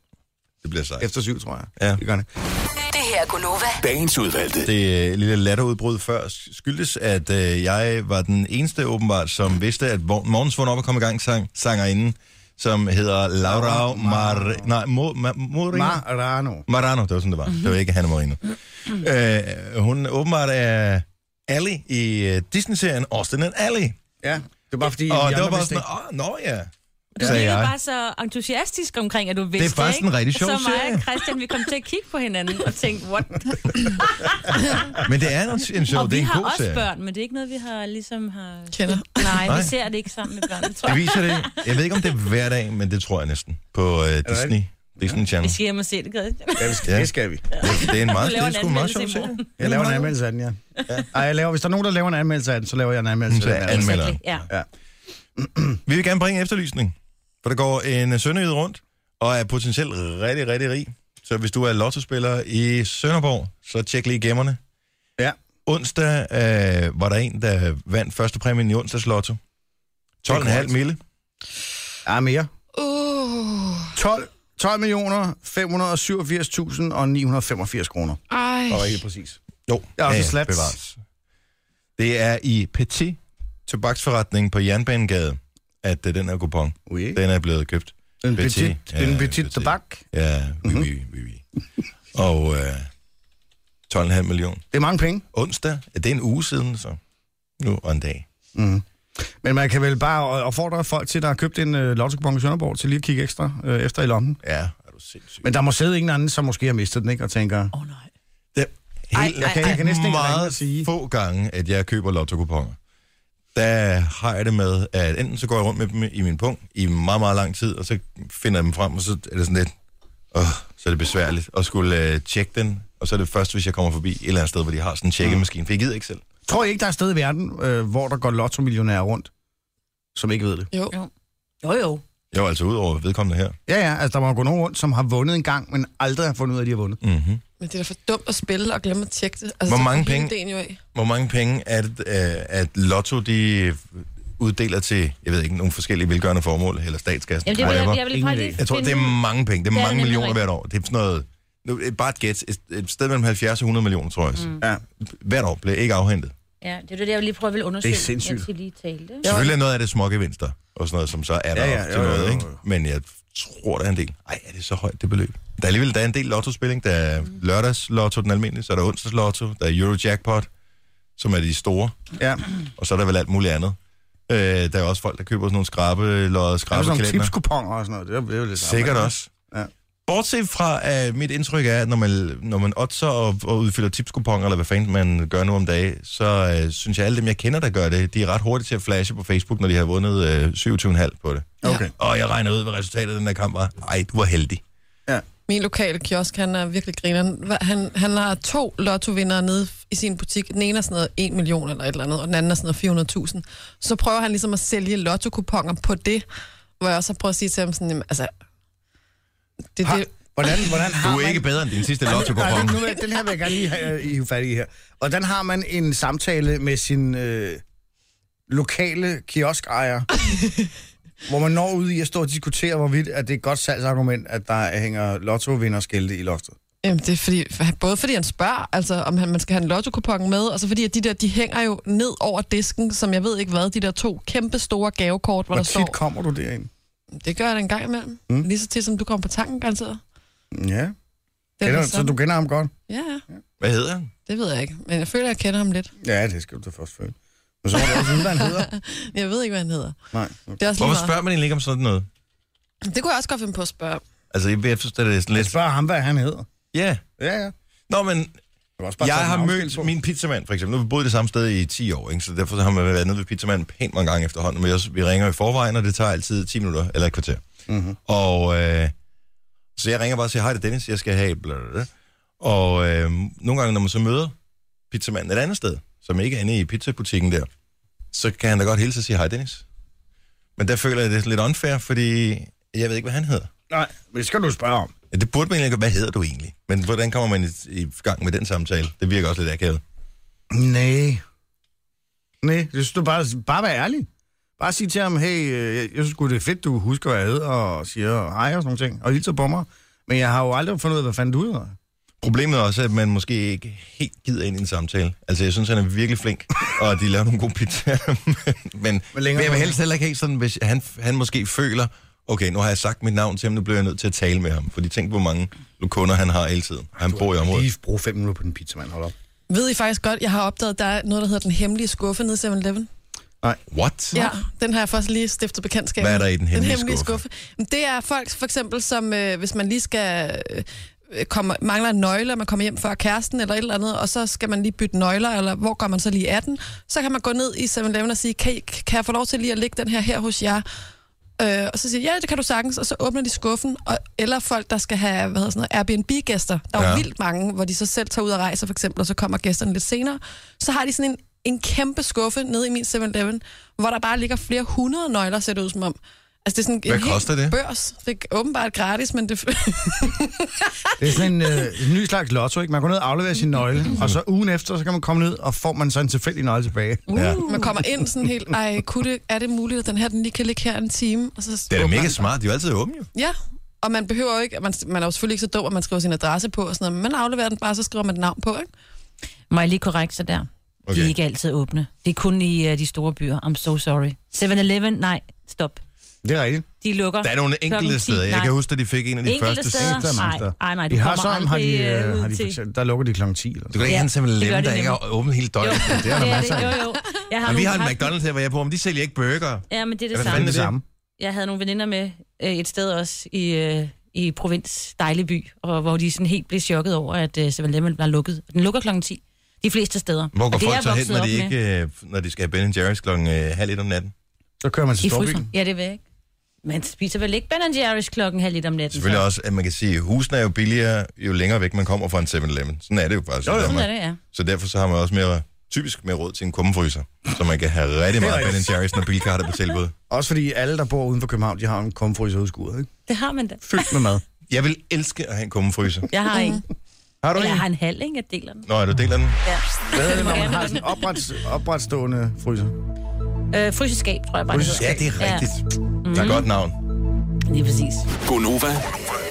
[SPEAKER 1] Det bliver sejt.
[SPEAKER 2] Efter syv, tror jeg.
[SPEAKER 1] Ja.
[SPEAKER 2] Det gør det.
[SPEAKER 5] Det her er Gunova.
[SPEAKER 6] Dagens udvalgte.
[SPEAKER 1] det øh, lille latterudbrud før skyldes, at øh, jeg var den eneste åbenbart, som vidste, at vor- morgens vågn op og kom i gang sang, sangerinde, som hedder Laura Mar... Nej, Mo, Ma, Moreno.
[SPEAKER 2] Marano.
[SPEAKER 1] Marano, det var sådan, det var. Det var ikke Hanna Moreno. Øh, hun åbenbart er Ally i øh, Disney-serien Austin and Ally.
[SPEAKER 2] Ja, det er bare fordi...
[SPEAKER 1] Og
[SPEAKER 2] vi
[SPEAKER 1] det var
[SPEAKER 2] andre
[SPEAKER 1] bare
[SPEAKER 2] vidste
[SPEAKER 1] sådan,
[SPEAKER 2] ikke.
[SPEAKER 1] åh, nå ja.
[SPEAKER 3] Du
[SPEAKER 1] sagde
[SPEAKER 3] virkede
[SPEAKER 1] jeg.
[SPEAKER 3] bare så entusiastisk omkring, at du vidste
[SPEAKER 1] faktisk
[SPEAKER 3] ikke?
[SPEAKER 1] en rigtig sjov
[SPEAKER 3] Så mig
[SPEAKER 1] serie.
[SPEAKER 3] og Christian, vi kom til at kigge på hinanden og tænke, what?
[SPEAKER 1] Men det er en, en show,
[SPEAKER 3] og
[SPEAKER 1] det
[SPEAKER 3] vi
[SPEAKER 1] er en
[SPEAKER 3] har
[SPEAKER 1] god
[SPEAKER 3] også
[SPEAKER 1] serie.
[SPEAKER 3] børn, men det er ikke noget, vi har ligesom har...
[SPEAKER 4] Kender.
[SPEAKER 3] Nej,
[SPEAKER 1] Nej.
[SPEAKER 3] vi ser det ikke sammen med børn, tror
[SPEAKER 1] Det
[SPEAKER 3] jeg.
[SPEAKER 1] viser det. Jeg ved ikke, om det er hver dag, men det tror jeg næsten på øh, Disney. Disney Channel.
[SPEAKER 3] Vi skal hjem og se det, Christian.
[SPEAKER 2] Ja, vi skal,
[SPEAKER 1] Ja.
[SPEAKER 2] det skal vi.
[SPEAKER 1] Det er en meget,
[SPEAKER 3] Du
[SPEAKER 1] det
[SPEAKER 3] laver
[SPEAKER 1] er
[SPEAKER 3] en
[SPEAKER 1] sgu en meget sjov
[SPEAKER 3] anmeldelse i
[SPEAKER 1] serie.
[SPEAKER 3] morgen.
[SPEAKER 2] Jeg laver en anmeldelse af den, ja. ja. Ej, jeg laver, hvis der er nogen, der laver en anmeldelse af den, så laver jeg en anmeldelse
[SPEAKER 1] Så
[SPEAKER 2] af den.
[SPEAKER 1] anmelder.
[SPEAKER 3] Virkelig, Ja.
[SPEAKER 1] Vi vil gerne bringe en efterlysning, for der går en øh, sønderjyde rundt, og er potentielt rigtig, rigtig rig. Så hvis du er lottospiller i Sønderborg, så tjek lige gemmerne.
[SPEAKER 2] Ja.
[SPEAKER 1] Onsdag øh, var der en, der vandt første præmien i onsdags lotto. 12,5 mille.
[SPEAKER 2] Ja, mere.
[SPEAKER 4] Uh,
[SPEAKER 2] 12, 12 millioner 587.000 og 985 kroner.
[SPEAKER 4] ej.
[SPEAKER 2] Og helt præcis.
[SPEAKER 1] Jo,
[SPEAKER 2] Ja, og så slats.
[SPEAKER 1] bevares. Det er i Petit tobaksforretningen på Jernbanegade, at øh, den her kupon,
[SPEAKER 2] Ui.
[SPEAKER 1] den er blevet købt.
[SPEAKER 2] En
[SPEAKER 1] Petit.
[SPEAKER 2] petit,
[SPEAKER 1] Ja,
[SPEAKER 2] en petit
[SPEAKER 1] petit.
[SPEAKER 2] tobak. Mhm.
[SPEAKER 1] Ja, vi, vi, vi, vi. Og øh, 12,5 million.
[SPEAKER 2] Det er mange penge.
[SPEAKER 1] Onsdag, ja, det er en uge siden, så nu og en dag.
[SPEAKER 2] Mm. Men man kan vel bare opfordre folk til, der har købt en øh, lotto i Sønderborg, til lige at kigge ekstra øh, efter i lommen.
[SPEAKER 1] Ja, er du sindssyg.
[SPEAKER 2] Men der må sidde ingen anden, som måske har mistet den, ikke? Og tænker,
[SPEAKER 3] Åh oh, nej.
[SPEAKER 1] Det,
[SPEAKER 2] Ej,
[SPEAKER 1] helt,
[SPEAKER 2] ej,
[SPEAKER 1] jeg kan,
[SPEAKER 2] ej.
[SPEAKER 1] jeg kan næsten ikke
[SPEAKER 2] ringe
[SPEAKER 1] meget
[SPEAKER 2] og sige.
[SPEAKER 1] få gange, at jeg køber lottokuponger. Der har jeg det med, at enten så går jeg rundt med dem i min punkt i meget, meget lang tid, og så finder jeg dem frem, og så er det sådan lidt, åh, så er det besværligt at skulle øh, tjekke den, og så er det først, hvis jeg kommer forbi et eller andet sted, hvor de har sådan en tjekkemaskine, for jeg gider ikke selv.
[SPEAKER 2] tror I ikke, der er et sted i verden, øh, hvor der går lotto-millionærer rundt, som ikke ved det?
[SPEAKER 4] Jo.
[SPEAKER 3] Jo. Jo, jo.
[SPEAKER 1] Jo, altså ud over vedkommende her.
[SPEAKER 2] Ja, ja, altså der må gå nogen rundt, som har vundet en gang, men aldrig har fundet ud af, at de har vundet.
[SPEAKER 1] Mm-hmm.
[SPEAKER 4] Men det er da for dumt at spille og glemme at tjekke det. Altså,
[SPEAKER 1] Hvor
[SPEAKER 4] så
[SPEAKER 1] mange
[SPEAKER 4] går hele
[SPEAKER 1] penge-
[SPEAKER 4] ideen Jo af.
[SPEAKER 1] Hvor mange penge er det, øh, at Lotto de uddeler til, jeg ved ikke, nogle forskellige velgørende formål, eller statskassen,
[SPEAKER 3] Jamen, det vil
[SPEAKER 1] whatever?
[SPEAKER 3] jeg, jeg vil
[SPEAKER 2] Ingen
[SPEAKER 3] faktisk...
[SPEAKER 2] idé.
[SPEAKER 1] Jeg tror, det
[SPEAKER 3] finde-
[SPEAKER 1] er mange penge. Det er
[SPEAKER 3] Det er
[SPEAKER 1] mange
[SPEAKER 3] nemlig
[SPEAKER 1] millioner
[SPEAKER 3] rigtigt.
[SPEAKER 1] hvert år. Det er sådan noget... Nu, et- bare et gæt. Et, et sted mellem 70 og 100 millioner, tror jeg. Mm.
[SPEAKER 2] Ja.
[SPEAKER 1] Hvert år bliver ikke afhentet.
[SPEAKER 3] Ja, det er det, jeg vil lige prøve at ville undersøge.
[SPEAKER 2] Det er sindssygt.
[SPEAKER 3] Jeg skal lige tale det.
[SPEAKER 1] Selvfølgelig er noget af det smågevinster, og sådan noget, som så er der ja, ja, til jo, noget, jo, jo. ikke? Men jeg tror, der er en del. Ej, er det så højt, det beløb? Der er alligevel der er en del lottospilling. Der er
[SPEAKER 3] Mm.
[SPEAKER 1] lørdags lotto, den almindelige, så er der onsdags lotto, der er Eurojackpot, som er de store,
[SPEAKER 2] Ja,
[SPEAKER 1] og så er der vel alt muligt andet. Øh, der er også folk, der køber sådan nogle skrabe, lodder,
[SPEAKER 2] der er
[SPEAKER 1] skrabe
[SPEAKER 2] sådan nogle tipskuponger og sådan noget. Det er, det er jo lidt samme,
[SPEAKER 1] Sikkert
[SPEAKER 2] ikke?
[SPEAKER 1] også.
[SPEAKER 2] Ja.
[SPEAKER 1] Bortset fra, at mit indtryk er, at når man, når man otter og, og udfylder tipskuponger, eller hvad fanden man gør nu om dagen, så øh, synes jeg, alle dem, jeg kender, der gør det, de er ret hurtige til at flashe på Facebook, når de har vundet øh, 27,5 på det.
[SPEAKER 2] Okay.
[SPEAKER 1] Og jeg regner ud, hvad resultatet af den der kamp var. Ej, du var heldig.
[SPEAKER 4] Min lokale kiosk, han er virkelig grineren. Hva- Han, han har to lottovindere nede i sin butik. Den ene er sådan noget 1 million eller et eller andet, og den anden er sådan noget 400.000. Så prøver han ligesom at sælge lottokuponger på det, hvor jeg også har prøvet at sige til ham sådan, jamen, altså, det,
[SPEAKER 2] Har,
[SPEAKER 4] det,
[SPEAKER 2] hvordan, hvordan har
[SPEAKER 1] Du er
[SPEAKER 2] man-
[SPEAKER 1] ikke bedre end din sidste lotto
[SPEAKER 2] Nej, den, nu, vil jeg- den her vil jeg gerne lige have, øh, hive fat i her. Hvordan har man en samtale med sin øh, lokale kioskejer, hvor man når ud i at stå og diskutere, hvorvidt at det er et godt salgsargument, at der hænger lottovinderskilte i loftet?
[SPEAKER 4] Jamen, det er fordi, både fordi han spørger, altså om han, man skal have en lottokupon med, og så fordi, at de der, de hænger jo ned over disken, som jeg ved ikke hvad, de der to kæmpe store gavekort, hvor,
[SPEAKER 2] Hvor
[SPEAKER 4] der står,
[SPEAKER 2] tit kommer du derind?
[SPEAKER 4] det gør jeg da en gang imellem. Mm. Lige så tit, som du kommer på tanken, garanteret.
[SPEAKER 2] Ja,
[SPEAKER 4] Det er
[SPEAKER 2] kender,
[SPEAKER 4] da
[SPEAKER 2] så du
[SPEAKER 4] sådan.
[SPEAKER 2] kender ham godt?
[SPEAKER 4] Ja, ja,
[SPEAKER 1] Hvad hedder han?
[SPEAKER 4] det ved jeg ikke, men jeg føler, at jeg kender ham lidt.
[SPEAKER 2] Ja, det skal du da først føle. Men så må du også vide, hvad han hedder.
[SPEAKER 4] Jeg ved ikke, hvad han hedder.
[SPEAKER 2] Nej.
[SPEAKER 4] Det er også lige
[SPEAKER 1] Hvorfor
[SPEAKER 4] meget.
[SPEAKER 1] spørger man egentlig ikke om sådan noget?
[SPEAKER 4] Det kunne jeg også godt finde på at spørge.
[SPEAKER 1] Altså, jeg, jeg forstår det er sådan
[SPEAKER 2] Jeg
[SPEAKER 1] lidt...
[SPEAKER 2] spørger ham, hvad han hedder.
[SPEAKER 1] Ja.
[SPEAKER 2] Ja, ja.
[SPEAKER 1] Nå, men
[SPEAKER 2] kan også bare
[SPEAKER 1] Jeg
[SPEAKER 2] tage
[SPEAKER 1] har
[SPEAKER 2] den afskilt på.
[SPEAKER 1] mødt min pizzamand, for eksempel. Nu har vi boet det samme sted i 10 år, ikke? så derfor har man været nede ved pizzamanden pænt mange gange efterhånden. Men jeg, vi ringer i forvejen, og det tager altid 10 minutter eller et kvarter.
[SPEAKER 2] Mhm.
[SPEAKER 1] Mm-hmm. Og øh, så jeg ringer bare og siger, hej det er Dennis, jeg skal have bla, bla, bla. Og øh, nogle gange, når man så møder pizzamanden et andet sted, som ikke er inde i pizzabutikken der, så kan han da godt hilse og sige, hej Dennis. Men der føler jeg, det er lidt unfair, fordi jeg ved ikke, hvad han hedder.
[SPEAKER 2] Nej, men det skal du spørge om.
[SPEAKER 1] Ja, det burde man egentlig ikke. Hvad hedder du egentlig? Men hvordan kommer man i, i gang med den samtale? Det virker også lidt akavet.
[SPEAKER 2] Nej. Nej, jeg synes, du bare, bare være ærlig. Bare sige til ham, hey, øh, jeg, jeg synes sgu, det er fedt, du husker, hvad jeg hedder, og siger hej og sådan nogle ting, og hilser på mig. Men jeg har jo aldrig fundet ud af, hvad fanden du hedder.
[SPEAKER 1] Problemet er også, at man måske ikke helt gider ind i en samtale. Altså, jeg synes, han er virkelig flink, og de laver nogle gode pizzaer. men, men,
[SPEAKER 2] Men
[SPEAKER 1] men
[SPEAKER 2] længere
[SPEAKER 1] jeg vil
[SPEAKER 2] må-
[SPEAKER 1] helst heller ikke have sådan, hvis han, han måske føler, okay, nu har jeg sagt mit navn til ham, nu bliver jeg nødt til at tale med ham. Fordi tænk, hvor mange kunder han har hele tiden. Han bor i området.
[SPEAKER 2] Lige brug fem minutter på den pizza, mand. Hold op.
[SPEAKER 4] Ved I faktisk godt, jeg har opdaget, at der er noget, der hedder den hemmelige skuffe nede i 7-Eleven?
[SPEAKER 1] What?
[SPEAKER 4] Ja, den har jeg først lige stiftet bekendtskab
[SPEAKER 1] Hvad er
[SPEAKER 4] med.
[SPEAKER 1] der i den hemmelige skuffe?
[SPEAKER 4] Men Det er folk, for eksempel, som øh, hvis man lige skal... Øh, kommer, mangler en nøgle, og man kommer hjem før kæresten eller et eller andet, og så skal man lige bytte nøgler, eller hvor går man så lige af den, så kan man gå ned i 7-Eleven og sige, kan, I- kan jeg få lov til lige at lægge den her her hos jer? Øh, og så siger de, ja, det kan du sagtens, og så åbner de skuffen, og, eller folk, der skal have hvad hedder sådan noget, Airbnb-gæster. Der er ja.
[SPEAKER 1] Ja.
[SPEAKER 4] jo vildt mange, hvor de så selv tager ud og rejser, for eksempel, og så kommer gæsterne lidt senere. Så har de sådan en, en kæmpe skuffe nede i min 7-Eleven, hvor der bare ligger flere hundrede nøgler, ser det ud som om. Altså, det er sådan
[SPEAKER 1] Hvad
[SPEAKER 4] en hel
[SPEAKER 1] koster det?
[SPEAKER 4] børs. Det er åbenbart gratis, men det...
[SPEAKER 2] Det er sådan en øh, ny slags lotto, ikke? Man går ned og afleverer sin nøgle, og så ugen efter, så kan man komme ned, og får man så en tilfældig nøgle tilbage.
[SPEAKER 3] Uh.
[SPEAKER 1] Ja.
[SPEAKER 4] Man kommer ind sådan helt, ej, kunne det, er det muligt, at den her den lige kan ligge her en time? Og så
[SPEAKER 1] Det er da
[SPEAKER 4] åbner
[SPEAKER 1] mega
[SPEAKER 4] den.
[SPEAKER 1] smart. De er jo altid åbne, jo.
[SPEAKER 4] Ja, og man behøver jo ikke, man, man er jo selvfølgelig ikke så dum, at man skriver sin adresse på og sådan noget, men man afleverer den bare, så skriver man et navn på, ikke?
[SPEAKER 3] Må jeg lige korrekt så der? Okay. De er
[SPEAKER 1] Okay.
[SPEAKER 3] ikke altid åbne. Det er kun i uh, de store byer. I'm so sorry. 7-Eleven, nej, stop.
[SPEAKER 2] Det er rigtigt.
[SPEAKER 3] De lukker.
[SPEAKER 1] Der er nogle
[SPEAKER 3] Klokken
[SPEAKER 1] enkelte
[SPEAKER 3] ti,
[SPEAKER 1] steder. Jeg
[SPEAKER 3] nej.
[SPEAKER 1] kan huske, at de fik en af de
[SPEAKER 3] Enkelte
[SPEAKER 1] første...
[SPEAKER 3] steder?
[SPEAKER 1] Du
[SPEAKER 2] Der er mange
[SPEAKER 3] Nej,
[SPEAKER 2] steder.
[SPEAKER 3] ej, nej, det
[SPEAKER 2] I
[SPEAKER 3] kommer
[SPEAKER 2] Harsholm har de,
[SPEAKER 3] aldrig, øh,
[SPEAKER 2] øh, har de
[SPEAKER 3] ud
[SPEAKER 2] for
[SPEAKER 3] til.
[SPEAKER 2] eksempel, der lukker de klokken 10. Eller sådan.
[SPEAKER 1] kan ikke
[SPEAKER 3] Ja,
[SPEAKER 1] have en
[SPEAKER 3] det gør
[SPEAKER 1] 7-Eleven,
[SPEAKER 3] de
[SPEAKER 1] der ikke er åbent hele døgnet.
[SPEAKER 3] Jo.
[SPEAKER 1] Det er der
[SPEAKER 3] det
[SPEAKER 1] masser af.
[SPEAKER 3] Jo, jo. Jeg
[SPEAKER 1] Men vi
[SPEAKER 3] nogle
[SPEAKER 1] har en
[SPEAKER 3] kaffe-
[SPEAKER 1] McDonald's her, hvor jeg bor, men de sælger ikke burger.
[SPEAKER 3] Ja, men det er det
[SPEAKER 1] Hvad
[SPEAKER 3] samme.
[SPEAKER 1] fanden
[SPEAKER 2] det
[SPEAKER 1] er
[SPEAKER 2] samme.
[SPEAKER 3] jeg havde nogle veninder med øh, et sted også i, øh, i provins dejlig by, og hvor de sådan helt blev chokket over, at øh, 7-Eleven var lukket. Den lukker klokken 10. De fleste steder.
[SPEAKER 1] Hvor går
[SPEAKER 3] Og det er
[SPEAKER 1] folk
[SPEAKER 3] jeg
[SPEAKER 1] så hen,
[SPEAKER 3] vokset
[SPEAKER 1] når
[SPEAKER 3] op
[SPEAKER 1] de,
[SPEAKER 3] med.
[SPEAKER 1] ikke, øh, når de skal have Ben Jerry's klokken øh, halv et om natten?
[SPEAKER 2] Så kører
[SPEAKER 1] øh,
[SPEAKER 2] man til
[SPEAKER 3] I fryseren.
[SPEAKER 2] Storbyen.
[SPEAKER 3] Ja, det ved jeg ikke. Man spiser vel ikke Ben Jerry's klokken halv lidt om natten.
[SPEAKER 1] Selvfølgelig
[SPEAKER 3] så.
[SPEAKER 1] også, at man kan sige, at husene er jo billigere, jo længere væk man kommer fra en 7-Eleven. Sådan er det jo faktisk. Jo,
[SPEAKER 3] Sådan er det, ja.
[SPEAKER 1] Så derfor så har man også mere typisk mere råd til en kummefryser, så man kan have rigtig meget Ben Jerry's, når bilkart er på tilbud.
[SPEAKER 2] Også fordi alle, der bor uden for København, de har en komfryser ude i skuret, ikke?
[SPEAKER 3] Det har man da.
[SPEAKER 2] Fyldt med mad.
[SPEAKER 1] Jeg vil elske at have en kummefryser.
[SPEAKER 3] Jeg har en.
[SPEAKER 2] Har du
[SPEAKER 3] Eller
[SPEAKER 2] en?
[SPEAKER 3] jeg har en halv, ikke? Jeg deler den.
[SPEAKER 1] Nå, er du deler den?
[SPEAKER 2] Hvad er det, når man har sådan en opret, opretstående fryser?
[SPEAKER 3] Øh, fryseskab, tror jeg bare. det hedder.
[SPEAKER 1] Ja, Mhm. det er rigtigt. Det er et godt navn.
[SPEAKER 3] Ja, lige præcis.
[SPEAKER 5] Gonova.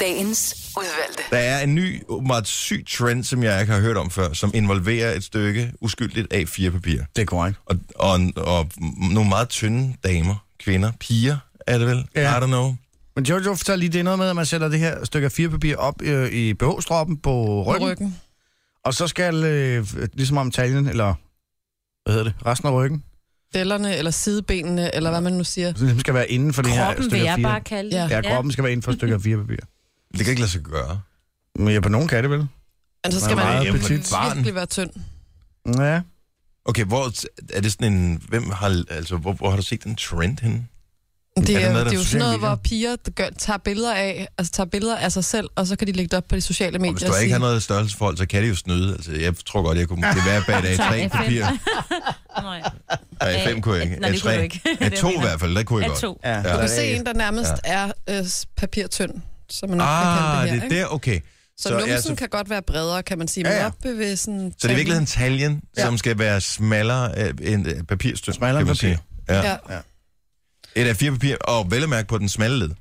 [SPEAKER 6] Dagens udvalgte.
[SPEAKER 1] Der er en ny, meget syg trend, som jeg ikke har hørt om før, som involverer et stykke uskyldigt A4-papir.
[SPEAKER 2] Det er korrekt.
[SPEAKER 1] Og, og, og nogle meget tynde damer, kvinder, piger, er det vel?
[SPEAKER 2] Ja.
[SPEAKER 1] I don't know.
[SPEAKER 2] Men Jojo fortalte lige, det er noget med, at man sætter det her stykke af firepapir op øh, i BH-stroppen på
[SPEAKER 4] på
[SPEAKER 2] ryggen, ryggen,
[SPEAKER 4] ryggen.
[SPEAKER 2] og så skal, øh, ligesom om taljen, eller hvad hedder det, resten af ryggen,
[SPEAKER 4] Dællerne eller sidebenene, eller hvad man nu siger.
[SPEAKER 2] så ligesom skal være inden for det her
[SPEAKER 3] Kroppen vil
[SPEAKER 2] stykke af
[SPEAKER 3] jeg bare
[SPEAKER 2] fire.
[SPEAKER 3] kalde
[SPEAKER 4] Ja.
[SPEAKER 3] det.
[SPEAKER 2] Ja, kroppen skal være inden for et stykke af firepapir.
[SPEAKER 1] Det kan ikke lade sig gøre.
[SPEAKER 2] Men ja, på nogen kan det vel?
[SPEAKER 4] Men Altså, så
[SPEAKER 2] Man
[SPEAKER 4] skal
[SPEAKER 2] er
[SPEAKER 4] man
[SPEAKER 2] meget
[SPEAKER 4] ikke
[SPEAKER 1] petit.
[SPEAKER 4] virkelig være tynd.
[SPEAKER 2] Ja.
[SPEAKER 1] Okay, hvor t- er det sådan en... Hvem har, altså, hvor, hvor har du set den trend henne?
[SPEAKER 4] Det
[SPEAKER 1] Er
[SPEAKER 4] er,
[SPEAKER 1] det
[SPEAKER 4] det,
[SPEAKER 1] noget, der
[SPEAKER 4] det er
[SPEAKER 1] er
[SPEAKER 4] jo
[SPEAKER 1] sociale
[SPEAKER 4] sådan noget,
[SPEAKER 1] medier?
[SPEAKER 4] hvor piger gør, tager billeder af, altså tager billeder af sig selv, og så kan de lægge det op på de sociale
[SPEAKER 1] Og
[SPEAKER 4] medier.
[SPEAKER 1] hvis du ikke
[SPEAKER 4] sige-
[SPEAKER 1] har noget størrelsesforhold, så kan det jo snyde. Altså, jeg tror godt, jeg kunne måske være bag et
[SPEAKER 3] Tak,
[SPEAKER 1] A3
[SPEAKER 3] F5.
[SPEAKER 1] papir.
[SPEAKER 3] Nå, ja.
[SPEAKER 1] Nej, A5 kunne jeg ikke.
[SPEAKER 3] Nej, det kunne du ikke. Det er
[SPEAKER 1] A3.
[SPEAKER 3] det, jeg
[SPEAKER 1] A2 i
[SPEAKER 3] mener.
[SPEAKER 1] hvert fald, der kunne jeg
[SPEAKER 3] Er
[SPEAKER 1] godt.
[SPEAKER 3] to.
[SPEAKER 2] ja.
[SPEAKER 1] Ja.
[SPEAKER 4] Du kan se en, der nærmest er øh, s- papirtynd, som
[SPEAKER 3] Mm.
[SPEAKER 4] man nok kan kalde
[SPEAKER 1] Ah, det
[SPEAKER 4] det her.
[SPEAKER 1] er
[SPEAKER 4] ikke?
[SPEAKER 1] der, okay.
[SPEAKER 4] Så,
[SPEAKER 1] så-
[SPEAKER 4] så numsen
[SPEAKER 1] ja,
[SPEAKER 4] ja,
[SPEAKER 1] så-
[SPEAKER 4] så... kan godt være bredere, kan man sige, men
[SPEAKER 2] Ja, ja.
[SPEAKER 4] op ved sådan...
[SPEAKER 1] Så det er i virkeligheden taljen,
[SPEAKER 4] Ja.
[SPEAKER 1] som skal være smallere øh, end øh, papirstykke,
[SPEAKER 2] Smallere
[SPEAKER 1] kan
[SPEAKER 2] end
[SPEAKER 1] man
[SPEAKER 2] papir.
[SPEAKER 1] sige. Ja.
[SPEAKER 4] Ja,
[SPEAKER 1] Et af fire papir, og vel at mærke på den smalle led.
[SPEAKER 4] øh,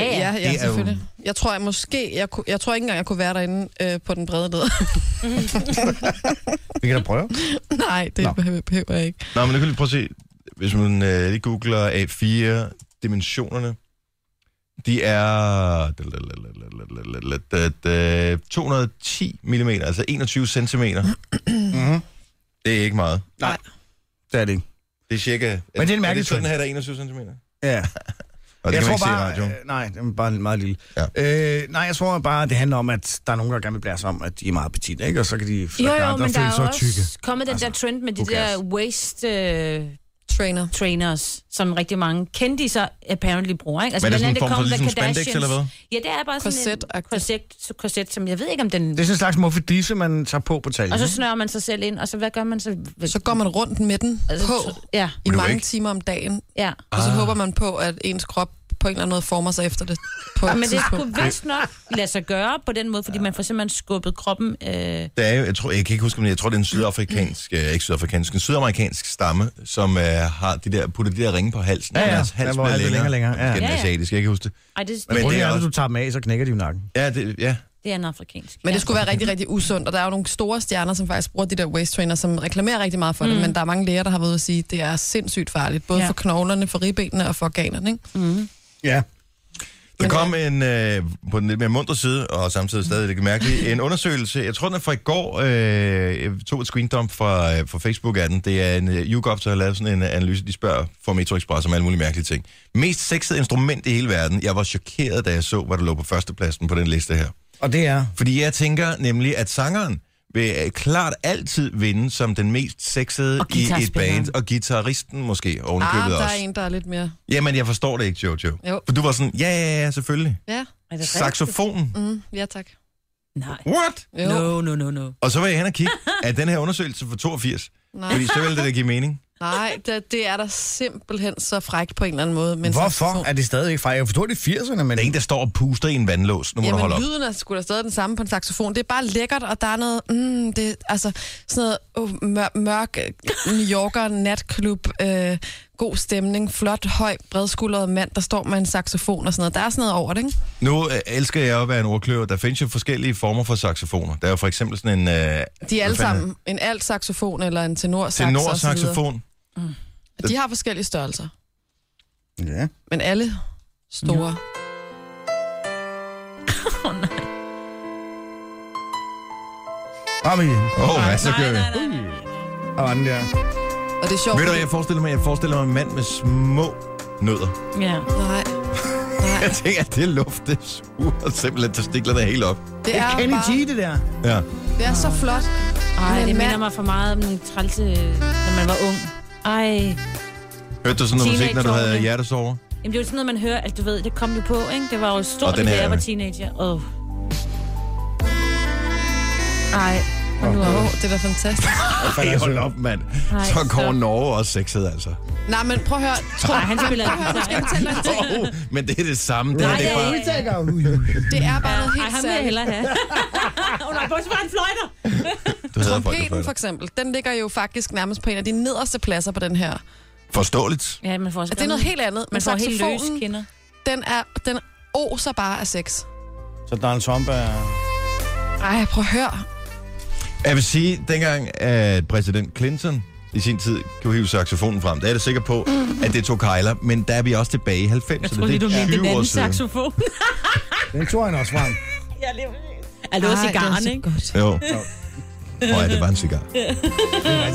[SPEAKER 3] Ja, ja.
[SPEAKER 4] ja,
[SPEAKER 1] Det er
[SPEAKER 4] ja
[SPEAKER 1] jo-
[SPEAKER 4] selvfølgelig. Jeg tror jeg måske... Jeg, kunne, jeg tror ikke engang, jeg kunne være derinde øh, på den brede led.
[SPEAKER 2] Vi kan da prøve.
[SPEAKER 4] Nej, det
[SPEAKER 2] Nå.
[SPEAKER 4] behøver, behøver jeg ikke.
[SPEAKER 1] Nå, men nu kan du lige prøve at se, hvis man øh, lige googler A4, dimensionerne, de er 210 mm, altså 21 cm.
[SPEAKER 3] Mm.
[SPEAKER 2] Mm-hmm.
[SPEAKER 1] Det er ikke meget.
[SPEAKER 2] Det er det ikke.
[SPEAKER 1] Det er cirka...
[SPEAKER 2] det er en
[SPEAKER 1] Er
[SPEAKER 2] mærkelig
[SPEAKER 1] det sådan
[SPEAKER 2] trend.
[SPEAKER 1] her, der er 21 cm? Og det
[SPEAKER 2] Ja.
[SPEAKER 1] jeg kan man
[SPEAKER 2] jeg tror
[SPEAKER 1] ikke bare, se i
[SPEAKER 2] bare,
[SPEAKER 1] radioen.
[SPEAKER 2] øh, nej, det er bare meget lille.
[SPEAKER 1] Ja.
[SPEAKER 2] Øh, nej, jeg tror bare, det handler om, at der er nogen, der gerne vil blære sig om, at de er meget petite, ikke? Og så kan de så
[SPEAKER 3] Jo,
[SPEAKER 2] kan
[SPEAKER 3] jo,
[SPEAKER 2] andre
[SPEAKER 3] men der
[SPEAKER 2] føle
[SPEAKER 3] er
[SPEAKER 2] sig
[SPEAKER 3] også
[SPEAKER 2] tykke.
[SPEAKER 3] kommet den
[SPEAKER 2] Altså,
[SPEAKER 3] altså, der trend med de
[SPEAKER 2] who
[SPEAKER 3] der
[SPEAKER 2] cares?
[SPEAKER 3] waist øh,
[SPEAKER 4] Trainer.
[SPEAKER 3] trainers, som rigtig mange kendte apparently bruger. Ikke? Altså,
[SPEAKER 1] Men er det sådan
[SPEAKER 3] blandt
[SPEAKER 1] en
[SPEAKER 3] andet
[SPEAKER 1] form for
[SPEAKER 3] kom
[SPEAKER 1] ligesom
[SPEAKER 3] The
[SPEAKER 1] spandex
[SPEAKER 3] Kardashians.
[SPEAKER 1] eller hvad?
[SPEAKER 3] Ja, det er bare sådan en
[SPEAKER 4] Korset-agtigt.
[SPEAKER 3] korset, korset, som jeg ved ikke, om den...
[SPEAKER 2] Det er sådan en slags muffedisse, man tager på på taljen.
[SPEAKER 3] Og så snører man sig selv ind, og så hvad gør man så?
[SPEAKER 4] Så går man rundt med den
[SPEAKER 3] Altså,
[SPEAKER 4] på
[SPEAKER 3] Ja,
[SPEAKER 4] i
[SPEAKER 1] du
[SPEAKER 4] mange
[SPEAKER 1] ikke- Ah.
[SPEAKER 4] timer om dagen,
[SPEAKER 3] ja.
[SPEAKER 4] og så håber man på, at ens krop på en eller anden måde former sig efter det på et
[SPEAKER 3] Men det
[SPEAKER 4] tidspunkt.
[SPEAKER 3] skulle vist nok lade sig gøre på den måde, fordi man får simpelthen skubbet kroppen... Øh,
[SPEAKER 1] Der er jo, jeg, tror, jeg kan ikke huske, men jeg tror, det er en sydafrikansk, øh, ikke sydafrikansk, en sydamerikansk stamme, som øh, har de der, putter de der ringe på halsen.
[SPEAKER 2] Ja, ja.
[SPEAKER 1] Deres
[SPEAKER 2] Ja,
[SPEAKER 1] hals
[SPEAKER 2] hvor
[SPEAKER 1] bliver
[SPEAKER 2] alt er
[SPEAKER 1] længere.
[SPEAKER 2] længere, længere. Ja.
[SPEAKER 1] Ja. Den
[SPEAKER 3] Ja, ja.
[SPEAKER 1] asiatiske, jeg kan huske det.
[SPEAKER 3] ej, det,
[SPEAKER 1] Men
[SPEAKER 2] Men
[SPEAKER 1] det
[SPEAKER 2] det
[SPEAKER 1] er
[SPEAKER 2] er,
[SPEAKER 1] også-
[SPEAKER 2] når du tager dem af, så knækker de jo nakken.
[SPEAKER 1] Ja, det, ja.
[SPEAKER 3] det er en afrikansk.
[SPEAKER 4] Men
[SPEAKER 3] ja.
[SPEAKER 4] det skulle være rigtig, rigtig usundt, og der er jo nogle store stjerner, som faktisk bruger de der waist trainer, som reklamerer rigtig meget for mm. det, men der er mange læger, der har været ude at sige, at det er sindssygt farligt, både
[SPEAKER 3] Ja.
[SPEAKER 4] ja. for knoglerne, for ribbenene og for organerne. Ikke?
[SPEAKER 2] Ja.
[SPEAKER 1] Der kom en, øh, på den lidt mere munter side, og samtidig stadig lidt mærkelig, en undersøgelse, jeg tror den er fra i går, øh, jeg tog et screendump fra, øh, fra Facebook af den, det er en øh, YouGov, der har lavet sådan en øh, analyse, de spørger for Metro Express om alle mulige mærkelige ting. Mest sexede instrument i hele verden, jeg var chokeret, da jeg så, hvad der lå på førstepladsen på den liste her.
[SPEAKER 2] Og det er...
[SPEAKER 1] Fordi jeg tænker nemlig, at sangeren vil øh, klart altid vinde som den mest sexede
[SPEAKER 3] Og
[SPEAKER 1] i et
[SPEAKER 3] guitarspilleren.
[SPEAKER 1] band, og gitarristen måske
[SPEAKER 4] Ah,
[SPEAKER 1] ovenikøbet
[SPEAKER 4] der
[SPEAKER 1] ah,
[SPEAKER 4] er
[SPEAKER 1] også.
[SPEAKER 4] en, der er lidt mere...
[SPEAKER 1] Jamen, jeg forstår det ikke, Jojo.
[SPEAKER 4] Jo.
[SPEAKER 1] For du var sådan, ja, ja, ja, selvfølgelig.
[SPEAKER 4] Ja,
[SPEAKER 3] Er det rigtigt?
[SPEAKER 1] Saxofonen.
[SPEAKER 4] mm, ja tak.
[SPEAKER 3] Nej.
[SPEAKER 1] What?
[SPEAKER 4] Jo.
[SPEAKER 3] No, no, no, no.
[SPEAKER 1] Og så var jeg hen og kigge af den her undersøgelse fra 82.
[SPEAKER 4] Nej,
[SPEAKER 1] Fordi så ville det da give mening.
[SPEAKER 4] Nej det, det, er der simpelthen så fræk på en eller anden måde. Men
[SPEAKER 2] Hvorfor er det stadigvæk fejl? Jeg forstår, det er 80'erne, men...
[SPEAKER 1] Der er en, der står og puster i en vandlås. Nu må du holde op.
[SPEAKER 4] Jamen, lyden er sgu da stadig den samme på en saxofon. Det er bare lækkert, og der er noget, mm, det, altså, sådan noget oh, mør- mørk øh, New Yorker natklub, øh, god stemning, flot, høj, bredskuldret mand, der står med en saxofon og sådan noget. Der er sådan noget over det, ikke?
[SPEAKER 1] Nu øh, elsker jeg jo at være en ordkløver. Der findes jo forskellige former for saxofoner. Der er jo for eksempel sådan en... Øh,
[SPEAKER 4] De er alle
[SPEAKER 1] hvad fanden
[SPEAKER 4] sammen en alt saxofon eller en tenor
[SPEAKER 1] hedder- Tenorsaxofon.
[SPEAKER 4] De har forskellige størrelser,
[SPEAKER 2] Ja.
[SPEAKER 4] men alle store.
[SPEAKER 3] Oh, nej.
[SPEAKER 2] Kom igen.
[SPEAKER 1] Åh, oh, hvad så gør vi?
[SPEAKER 3] nej, nej, nej.
[SPEAKER 2] Og anden der.
[SPEAKER 4] Og det er sjovt.
[SPEAKER 1] Ved du, hvad jeg forestiller mig? Jeg forestiller mig en mand med små nødder.
[SPEAKER 3] Ja.
[SPEAKER 4] Nej. Nej.
[SPEAKER 1] Jeg tænker, at det luft, det suger simpelthen testiklerne helt op.
[SPEAKER 4] Det er,
[SPEAKER 2] Kenny G,
[SPEAKER 4] bare,
[SPEAKER 2] det der.
[SPEAKER 1] Ja.
[SPEAKER 4] det er så flot.
[SPEAKER 3] Ej,
[SPEAKER 4] Men
[SPEAKER 3] det minder
[SPEAKER 4] mand-
[SPEAKER 3] mig for meget om en trælse, når man var ung. Ej,
[SPEAKER 1] Hørte du sådan noget musik, når du havde
[SPEAKER 3] Teenageårene.
[SPEAKER 1] hjertesover?
[SPEAKER 3] Jamen, det er jo sådan noget, man hører, at du ved, det kom jo på, ikke? Det var jo
[SPEAKER 1] Og
[SPEAKER 3] stort,
[SPEAKER 1] den
[SPEAKER 3] da
[SPEAKER 1] her-
[SPEAKER 3] jeg var teenager. Åh. Ej, og nu er
[SPEAKER 4] Åh, det er da fantastisk.
[SPEAKER 1] Ej, hold op, mand.
[SPEAKER 3] altså. Nej,
[SPEAKER 1] Så går
[SPEAKER 3] stop.
[SPEAKER 1] Norge også sexet, altså.
[SPEAKER 4] Nej, men prøv at høre. Tro,
[SPEAKER 3] Nej, han spiller ikke guitar, ikke?
[SPEAKER 1] Oh, men det er det samme. Det, her,
[SPEAKER 3] Nej,
[SPEAKER 1] det er
[SPEAKER 3] det er
[SPEAKER 1] bare...
[SPEAKER 3] ikke.
[SPEAKER 2] Take out. Ui, ui.
[SPEAKER 4] det er bare noget
[SPEAKER 3] Ej, ham vil
[SPEAKER 4] helt
[SPEAKER 3] jeg
[SPEAKER 4] særligt.
[SPEAKER 3] hellere have. Åh nej, bortset fra en fløjter.
[SPEAKER 1] Du hader folk, der
[SPEAKER 4] Trompeten for
[SPEAKER 1] fløjter.
[SPEAKER 4] eksempel, den ligger jo faktisk nærmest på en af de nederste pladser på den her.
[SPEAKER 1] Forståeligt.
[SPEAKER 3] Ja, man får også
[SPEAKER 4] Og det er noget helt andet, men
[SPEAKER 3] man får helt løs
[SPEAKER 4] saxofonen,
[SPEAKER 3] kinder.
[SPEAKER 4] den, er, den oser bare af sex.
[SPEAKER 2] Så Donald Trump er...
[SPEAKER 4] Ej, prøv at høre.
[SPEAKER 1] Jeg vil sige, dengang at præsident Clinton i sin tid kunne hive saxofonen frem, der er jeg da sikker på, at det tog kejler, men der er vi også tilbage i 90'erne.
[SPEAKER 3] Jeg tror lige, du
[SPEAKER 1] det er
[SPEAKER 3] mente den
[SPEAKER 1] 20 år
[SPEAKER 3] anden
[SPEAKER 1] siden.
[SPEAKER 3] saxofon.
[SPEAKER 2] Den tog han også frem.
[SPEAKER 3] ja, lige præcis. Ej, det var
[SPEAKER 4] Ej,
[SPEAKER 3] cigaren,
[SPEAKER 4] så
[SPEAKER 3] ikke?
[SPEAKER 4] godt.
[SPEAKER 1] Jo. Nej, det var en cigar.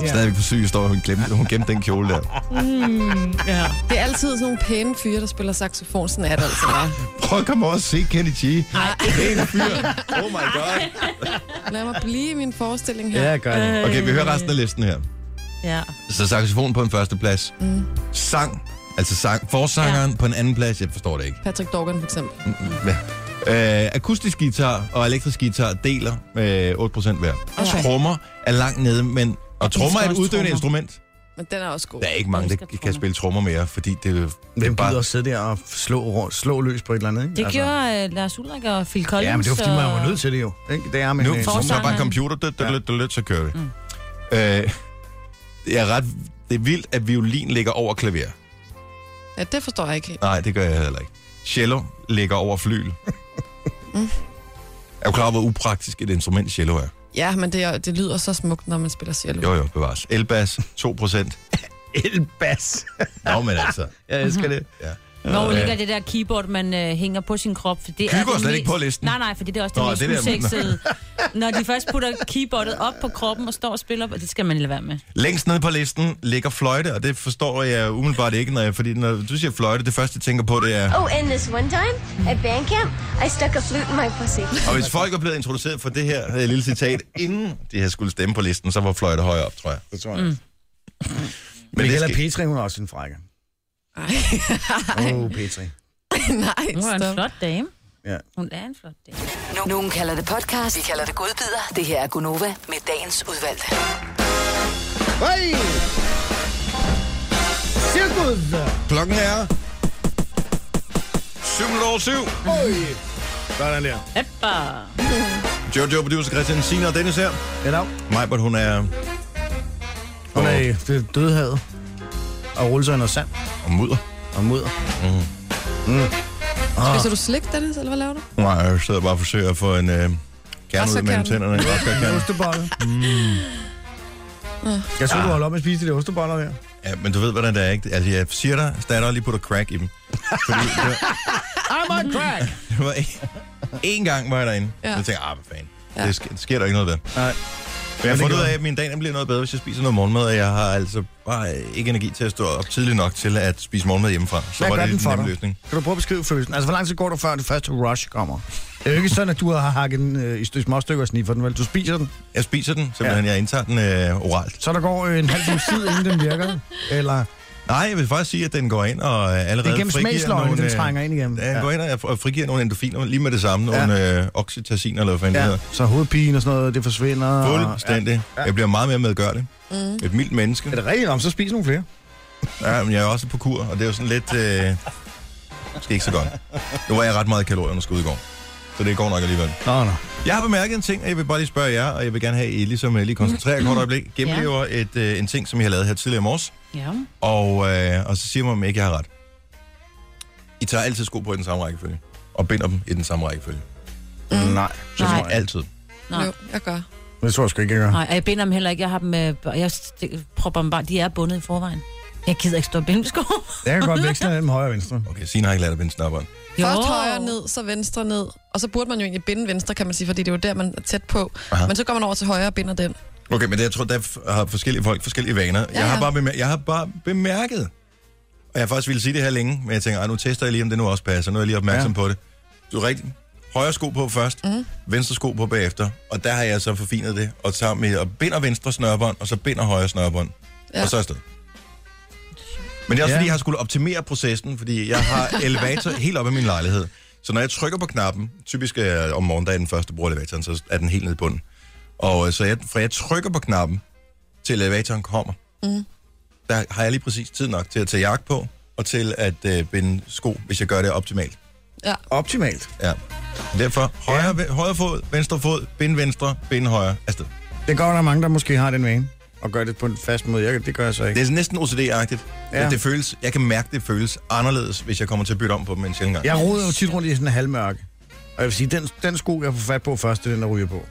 [SPEAKER 1] Stadigvæk på syg, står hun glemte, hun gemte den kjole der.
[SPEAKER 3] Ja.
[SPEAKER 4] Det er altid sådan nogle pæne fyre, der spiller saxofon. Sådan er det altså bare.
[SPEAKER 1] Prøv at komme over og se Kenny G. Det er en fyr. Oh my god.
[SPEAKER 4] Lad mig blive i min forestilling her.
[SPEAKER 2] Ja,
[SPEAKER 4] Ja.
[SPEAKER 2] jeg gør det.
[SPEAKER 3] Øh.
[SPEAKER 1] Okay, vi hører resten af listen her.
[SPEAKER 3] ja.
[SPEAKER 1] Så saxofon på en første plads.
[SPEAKER 3] Mm.
[SPEAKER 1] Sang, altså sang, forsangeren på en anden plads. Jeg forstår det ikke.
[SPEAKER 4] Patrick Dorgan for eksempel.
[SPEAKER 1] Ja. Øh, akustisk guitar og elektrisk guitar deler øh, 8% hver.
[SPEAKER 4] Okay.
[SPEAKER 1] Trommer er langt nede, men... Og trommer er et
[SPEAKER 3] også
[SPEAKER 1] uddøende
[SPEAKER 3] trommer.
[SPEAKER 1] instrument.
[SPEAKER 4] Men den er også god.
[SPEAKER 1] Der er ikke mange, der
[SPEAKER 3] elsker
[SPEAKER 1] kan
[SPEAKER 3] trommer.
[SPEAKER 1] spille trommer mere, fordi det, det
[SPEAKER 2] Hvem
[SPEAKER 1] er
[SPEAKER 2] gider
[SPEAKER 1] bare...
[SPEAKER 2] at sidde der og slå, rundt- slå løs på et eller andet, ikke?
[SPEAKER 3] Det gjorde uh, Lars Ulrik og Phil
[SPEAKER 2] Altså.
[SPEAKER 3] Collins.
[SPEAKER 2] Ja, men det var fordi, man var
[SPEAKER 3] og-
[SPEAKER 2] nødt til det jo. Ikke? Det er med
[SPEAKER 1] Nu
[SPEAKER 2] en-
[SPEAKER 1] så er bare en
[SPEAKER 3] Forsangeren. Mm.
[SPEAKER 1] computer, død, død, død, død, død, så kører vi. Øh, det er ret... Det er vildt, at violin ligger over klaver.
[SPEAKER 4] Ja, det forstår jeg ikke helt.
[SPEAKER 1] Nej, det gør jeg heller ikke. Cello ligger over flyl.
[SPEAKER 3] Mm.
[SPEAKER 1] Er du klar over, hvor upraktisk et instrument cello er?
[SPEAKER 4] Ja, men det, er- det lyder så smukt, når man spiller cello.
[SPEAKER 1] Jo, jo, bevares. Elbas, 2%.
[SPEAKER 2] Elbas.
[SPEAKER 1] Nå, men altså.
[SPEAKER 2] Jeg elsker det.
[SPEAKER 3] Hvor
[SPEAKER 1] Ja.
[SPEAKER 3] ligger det der keyboard, man øh, hænger på sin krop? For det
[SPEAKER 1] Kygo
[SPEAKER 3] det
[SPEAKER 1] er slet ikke på listen.
[SPEAKER 3] Nej, nej, for det er også
[SPEAKER 1] Nå,
[SPEAKER 3] det
[SPEAKER 1] det der-
[SPEAKER 3] mest usexede. Når de først putter keyboardet op på kroppen og står og spiller, og det skal man lade være med.
[SPEAKER 1] Længst nede på listen ligger fløjte, og det forstår jeg umiddelbart ikke, når jeg, fordi når du siger fløjte, det første, jeg tænker på, det er...
[SPEAKER 5] Oh, and this one time at band camp, I stuck a flute in my pussy.
[SPEAKER 1] Og hvis folk er blevet introduceret for det her øh, lille citat, inden de her skulle stemme på listen, så var fløjte højere op, tror jeg.
[SPEAKER 2] Det tror jeg. Mm.
[SPEAKER 1] Men
[SPEAKER 2] Men
[SPEAKER 1] det
[SPEAKER 2] Hella
[SPEAKER 1] skal...
[SPEAKER 2] Petri, hun er også en frække.
[SPEAKER 4] Nej,
[SPEAKER 2] Åh, oh, Petri.
[SPEAKER 4] nej,
[SPEAKER 3] Hun er en
[SPEAKER 4] stop.
[SPEAKER 3] flot dame.
[SPEAKER 2] Ja.
[SPEAKER 3] Hun er en flot dame.
[SPEAKER 6] Nu- Nogen kalder det podcast, vi kalder det godbider. Det her er Gunova med dagens udvalgte.
[SPEAKER 2] Hey! Cirkus!
[SPEAKER 1] Klokken er... 7 over 7.
[SPEAKER 2] Sådan der.
[SPEAKER 3] Heppa!
[SPEAKER 1] Jojo, producer Christian Sina og Dennis her.
[SPEAKER 2] Ja, dag.
[SPEAKER 1] Majbert, hun er...
[SPEAKER 2] Hun er i det dødhavet. Og rulle sig i noget sand
[SPEAKER 1] Og mudder.
[SPEAKER 2] og mudder.
[SPEAKER 4] Spiser du slik, Dennis, eller hvad laver du?
[SPEAKER 1] Nej, jeg sidder bare og forsøger at få en... Øh, gerne ud
[SPEAKER 4] Oscar-kerne.
[SPEAKER 1] mellem tænderne. Oscar-kerne.
[SPEAKER 2] Ostebolle. Mm. Jeg tror, du holdt op med at spise de der osteboller der.
[SPEAKER 1] Ja, men du ved, hvordan det er, ikke? Altså, jeg siger dig, stadig lige putter crack i dem. Fordi det var,
[SPEAKER 2] I'm on crack!
[SPEAKER 1] det var en, en gang var jeg derinde, ja.
[SPEAKER 4] Ja.
[SPEAKER 1] og jeg tænkte, ah, hvad fanden, ja.
[SPEAKER 4] Ja.
[SPEAKER 1] det, sker, det sker der ikke noget ved.
[SPEAKER 2] Nej.
[SPEAKER 1] Men jeg har
[SPEAKER 2] det
[SPEAKER 1] fundet ud
[SPEAKER 2] gjorde
[SPEAKER 1] af, at min dag den bliver noget bedre, hvis jeg spiser noget morgenmad, og jeg har altså bare øh, ikke energi til at stå op tidligt nok til at spise morgenmad hjemmefra. Så
[SPEAKER 2] Hvad
[SPEAKER 1] var
[SPEAKER 2] gør
[SPEAKER 1] det
[SPEAKER 2] den for
[SPEAKER 1] en nem
[SPEAKER 2] dig?
[SPEAKER 1] løsning.
[SPEAKER 2] Kan du prøve at beskrive følelsen? Altså, hvor lang tid går du før det første rush kommer? Det er jo ikke sådan, at du har hakket den øh, i st- små stykker og sniffer den, vel? Du spiser den,
[SPEAKER 1] Jeg spiser den, simpelthen. Ja. Jeg indtager den øh, oralt.
[SPEAKER 2] så der går øh, en halv times tid, inden den virker. Eller
[SPEAKER 1] Nej, jeg vil faktisk sige, at den går ind og øh, allerede
[SPEAKER 2] det er gennem smagsløgene, den
[SPEAKER 1] øh,
[SPEAKER 2] trænger ind igennem.
[SPEAKER 1] Ja, den går ind og- og frigiver nogle endorfiner lige med det samme.
[SPEAKER 2] Ja.
[SPEAKER 1] Nogle øh, oxytacin eller hvad fanden ja. det
[SPEAKER 2] ja. Ah,
[SPEAKER 1] hedder.
[SPEAKER 2] Så hovedpine og sådan noget, det forsvinder. og-
[SPEAKER 1] Fuldstændig. Ja. Jeg bliver meget mere medgørlig. Mm. Et mildt menneske.
[SPEAKER 2] Ja. Er det rigtigt om, så spis nogle flere.
[SPEAKER 1] Ja, men jeg er også på kur, og det er jo sådan lidt... Øh, måske ikke så godt. Nu var jeg ret meget i kalorieunderskud i går. Så det går nok alligevel.
[SPEAKER 2] Nå, nå.
[SPEAKER 1] Jeg har bemærket en ting, og jeg vil bare lige spørge jer, og jeg vil gerne have, at I ligesom øh, lige koncentrerer et kort øjeblik. Gennemlever et, øh, en ting, som jeg har lavet her tidligere i morges,
[SPEAKER 3] Ja.
[SPEAKER 1] og, øh, og så siger man, om ikke jeg har ret. I tager altid sko på i den samme rækkefølge, og binder dem i den samme rækkefølge.
[SPEAKER 2] Mm. Nej, så
[SPEAKER 3] Nej.
[SPEAKER 2] tror jeg.
[SPEAKER 1] Altid.
[SPEAKER 3] Nå.
[SPEAKER 4] Jo, jeg gør.
[SPEAKER 2] Det tror jeg sgu ikke, jeg gør.
[SPEAKER 3] Nej, og jeg binder dem heller ikke. Jeg har dem, øh, og jeg st- propper dem bare. De er bundet i forvejen. Jeg gider ikke stå og binde med sko.
[SPEAKER 2] Jeg kan godt veksle mellem højre og venstre.
[SPEAKER 1] Okay, Signe har ikke lært at binde snapperen.
[SPEAKER 4] Først højre ned, så venstre ned. Og så burde man jo egentlig binde venstre, kan man sige, fordi det er jo der, man er tæt på.
[SPEAKER 1] Aha.
[SPEAKER 4] Men så går man over til højre og binder den.
[SPEAKER 1] Okay, men det, jeg tror, der f- har forskellige folk forskellige vaner. Ja,
[SPEAKER 4] Ja,
[SPEAKER 1] jeg, har bare
[SPEAKER 4] ja.
[SPEAKER 1] bemær- jeg har bare bemærket, og jeg har faktisk ville sige det her længe, men jeg tænker, "Ej, nu tester jeg lige, om det nu også passer. Nu er jeg lige opmærksom ja. på det. Du er rigtig højre sko på først,
[SPEAKER 4] Mhm.
[SPEAKER 1] mm. venstre sko på bagefter, og der har jeg så forfinet det, og tager med og binder venstre snørbånd, og så binder højre snørbånd, ja.
[SPEAKER 4] Ja.
[SPEAKER 1] og så afsted. Men det er også
[SPEAKER 2] Ja.
[SPEAKER 1] ja. fordi, jeg har skulle optimere processen, fordi jeg har elevator helt op i min lejlighed. Så når jeg trykker på knappen, typisk er om morgenen, der er den første, der bruger elevatoren, så er den helt nede i bunden. Og øh, så jeg, fra jeg trykker på knappen, til elevatoren kommer, mm. der har jeg lige præcis tid nok til at tage jakke på, og til at øh, binde sko, hvis jeg gør det optimalt.
[SPEAKER 4] Ja.
[SPEAKER 2] Optimalt.
[SPEAKER 1] Ja. Derfor, højre, ja. højre fod, venstre fod, bind venstre, bind højre, afsted.
[SPEAKER 2] Det er godt, der er mange, der måske har den vane, og gør det på en fast måde. Jeg, det gør jeg så ikke.
[SPEAKER 1] Det er næsten OCD-agtigt.
[SPEAKER 2] Ja.
[SPEAKER 1] Ja. Det føles, jeg kan mærke, det føles anderledes, hvis jeg kommer til at bytte om på dem en sjældent gang.
[SPEAKER 2] Jeg roder jo tit rundt i sådan en halvmørke. Og jeg vil sige, den, den sko, jeg får fat på først, det er den, der ryger på.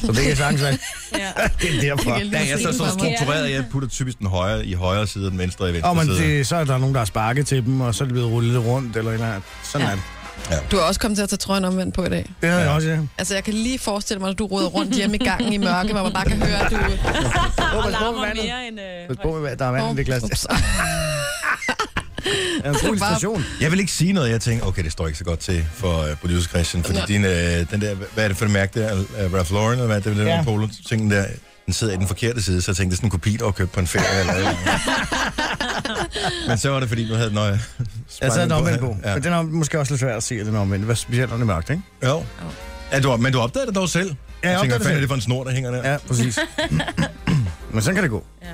[SPEAKER 2] Så det kan sagtens være,
[SPEAKER 3] Ja.
[SPEAKER 2] det er derfor.
[SPEAKER 4] Jeg kan
[SPEAKER 1] Ja, jeg er så, så struktureret, at jeg putter typisk den højre i højre side, og den venstre i venstre
[SPEAKER 2] Og men
[SPEAKER 1] side.
[SPEAKER 2] det, så er der nogen, der har sparket til dem, og så er det blevet rullet lidt rundt, eller, et eller andet. sådan
[SPEAKER 3] Ja.
[SPEAKER 2] ja. er det.
[SPEAKER 4] Du er også kommet til at tage trøjen omvendt på i dag.
[SPEAKER 2] Det har jeg
[SPEAKER 1] Ja.
[SPEAKER 2] også, ja.
[SPEAKER 4] Altså, jeg kan lige forestille mig, at du råder rundt hjemme i gangen i mørke, hvor man bare kan høre, at du...
[SPEAKER 2] Åh,
[SPEAKER 3] Og
[SPEAKER 2] pas på med
[SPEAKER 3] larmer
[SPEAKER 2] vandet.
[SPEAKER 3] mere end... Øh,
[SPEAKER 2] Pas på med, hvad der er vand i det glas. Det
[SPEAKER 4] Ups.
[SPEAKER 2] er en god illustration.
[SPEAKER 1] Jeg vil ikke sige noget, jeg tænker, okay, det står ikke så godt til for uh, producer Christian, fordi din, uh, den der, hvad er det for et mærke der, uh, Ralph Lauren, eller hvad er det, den
[SPEAKER 2] Ja.
[SPEAKER 1] ja. polo ting der, den sidder i den forkerte side, så jeg tænkte, det er sådan en kopi, der var købt på en ferie eller noget. Men så var det, fordi du havde den øje.
[SPEAKER 2] Jeg tager Altså, den omvendt på,
[SPEAKER 1] Ja.
[SPEAKER 2] men den er måske også lidt svær at se, at den er omvendt. Hvad specielt, når det er mørkt, ikke?
[SPEAKER 1] Jo. Ja, du, men du opdagede det dog selv.
[SPEAKER 2] jeg
[SPEAKER 1] jeg
[SPEAKER 2] opdagede
[SPEAKER 1] tænker,
[SPEAKER 2] det
[SPEAKER 1] hvad fanden er
[SPEAKER 2] selv.
[SPEAKER 1] det for en snor, der hænger der?
[SPEAKER 2] Ja, præcis. men sådan kan det gå.
[SPEAKER 3] ja.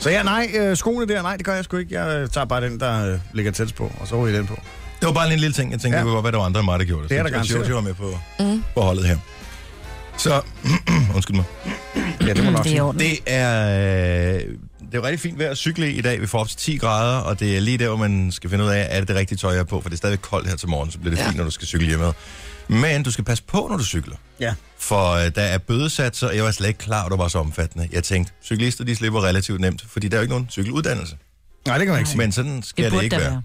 [SPEAKER 2] Så ja, nej, øh, skoene der, nej, det gør jeg sgu ikke. Jeg øh, tager bare den, der øh, ligger tæt på, og så ryger jeg den på.
[SPEAKER 1] Det var bare en lille ting, jeg tænkte,
[SPEAKER 2] Ja.
[SPEAKER 1] ja. det kunne godt være, der var andre end mig, der gjorde det.
[SPEAKER 2] Det er
[SPEAKER 1] Så
[SPEAKER 2] der garanteret.
[SPEAKER 1] Jojo var med på, mm. på holdet her. Så, undskyld mig.
[SPEAKER 2] Ja, det må nok
[SPEAKER 3] Det er i
[SPEAKER 2] sige.
[SPEAKER 3] orden.
[SPEAKER 1] Det er, øh, det er jo rigtig fint vejr at cykle i i dag. Vi får op til 10 grader, og det er lige der, hvor man skal finde ud af, er det det rigtige tøj, jeg er på? For det er stadigvæk koldt her til morgen, så bliver det ja.
[SPEAKER 4] Ja.
[SPEAKER 1] fint, når du skal cykle hjemme. Men du skal passe på, når du cykler.
[SPEAKER 2] Ja.
[SPEAKER 1] For øh, der er bødesatser, og jeg var slet ikke klar, at det var så omfattende. Jeg tænkte, cyklister de slipper relativt nemt, fordi der er jo ikke nogen cykeluddannelse.
[SPEAKER 2] Nej, det kan man ikke sige.
[SPEAKER 1] Men sådan skal det,
[SPEAKER 3] Det
[SPEAKER 1] det
[SPEAKER 3] burde
[SPEAKER 1] ikke
[SPEAKER 3] der
[SPEAKER 1] være.
[SPEAKER 3] være.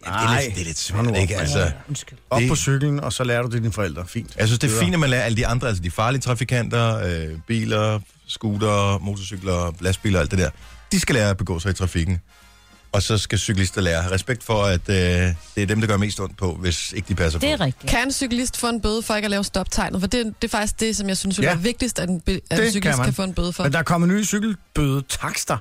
[SPEAKER 1] Det, er lidt, det er lidt svært,
[SPEAKER 2] Hold nu op,
[SPEAKER 1] ikke? Altså,
[SPEAKER 3] Undskyld.
[SPEAKER 2] Op
[SPEAKER 1] Det- Altså,
[SPEAKER 2] på cyklen, og så lærer du det dine forældre. Fint.
[SPEAKER 1] jeg synes, det er fint, at man lærer alle de andre, altså de farlige trafikanter, øh, biler, scooter, motorcykler, lastbiler og alt det der. De skal lære at begå sig i trafikken. Og så skal cyklister lære at have respekt for, at øh, det er dem, der gør mest ondt på, hvis ikke de passer
[SPEAKER 3] Det
[SPEAKER 1] på.
[SPEAKER 3] er rigtigt.
[SPEAKER 4] Kan en cyklist få en bøde for ikke at lave stoptegnet? For det, det er faktisk det, som jeg synes ja.
[SPEAKER 2] Ja.
[SPEAKER 4] er vigtigst, at en, be- at
[SPEAKER 2] Det
[SPEAKER 4] en
[SPEAKER 2] kan
[SPEAKER 4] cyklist
[SPEAKER 2] man.
[SPEAKER 4] kan, få en bøde for.
[SPEAKER 2] Men der er kommet nye cykelbøde takster.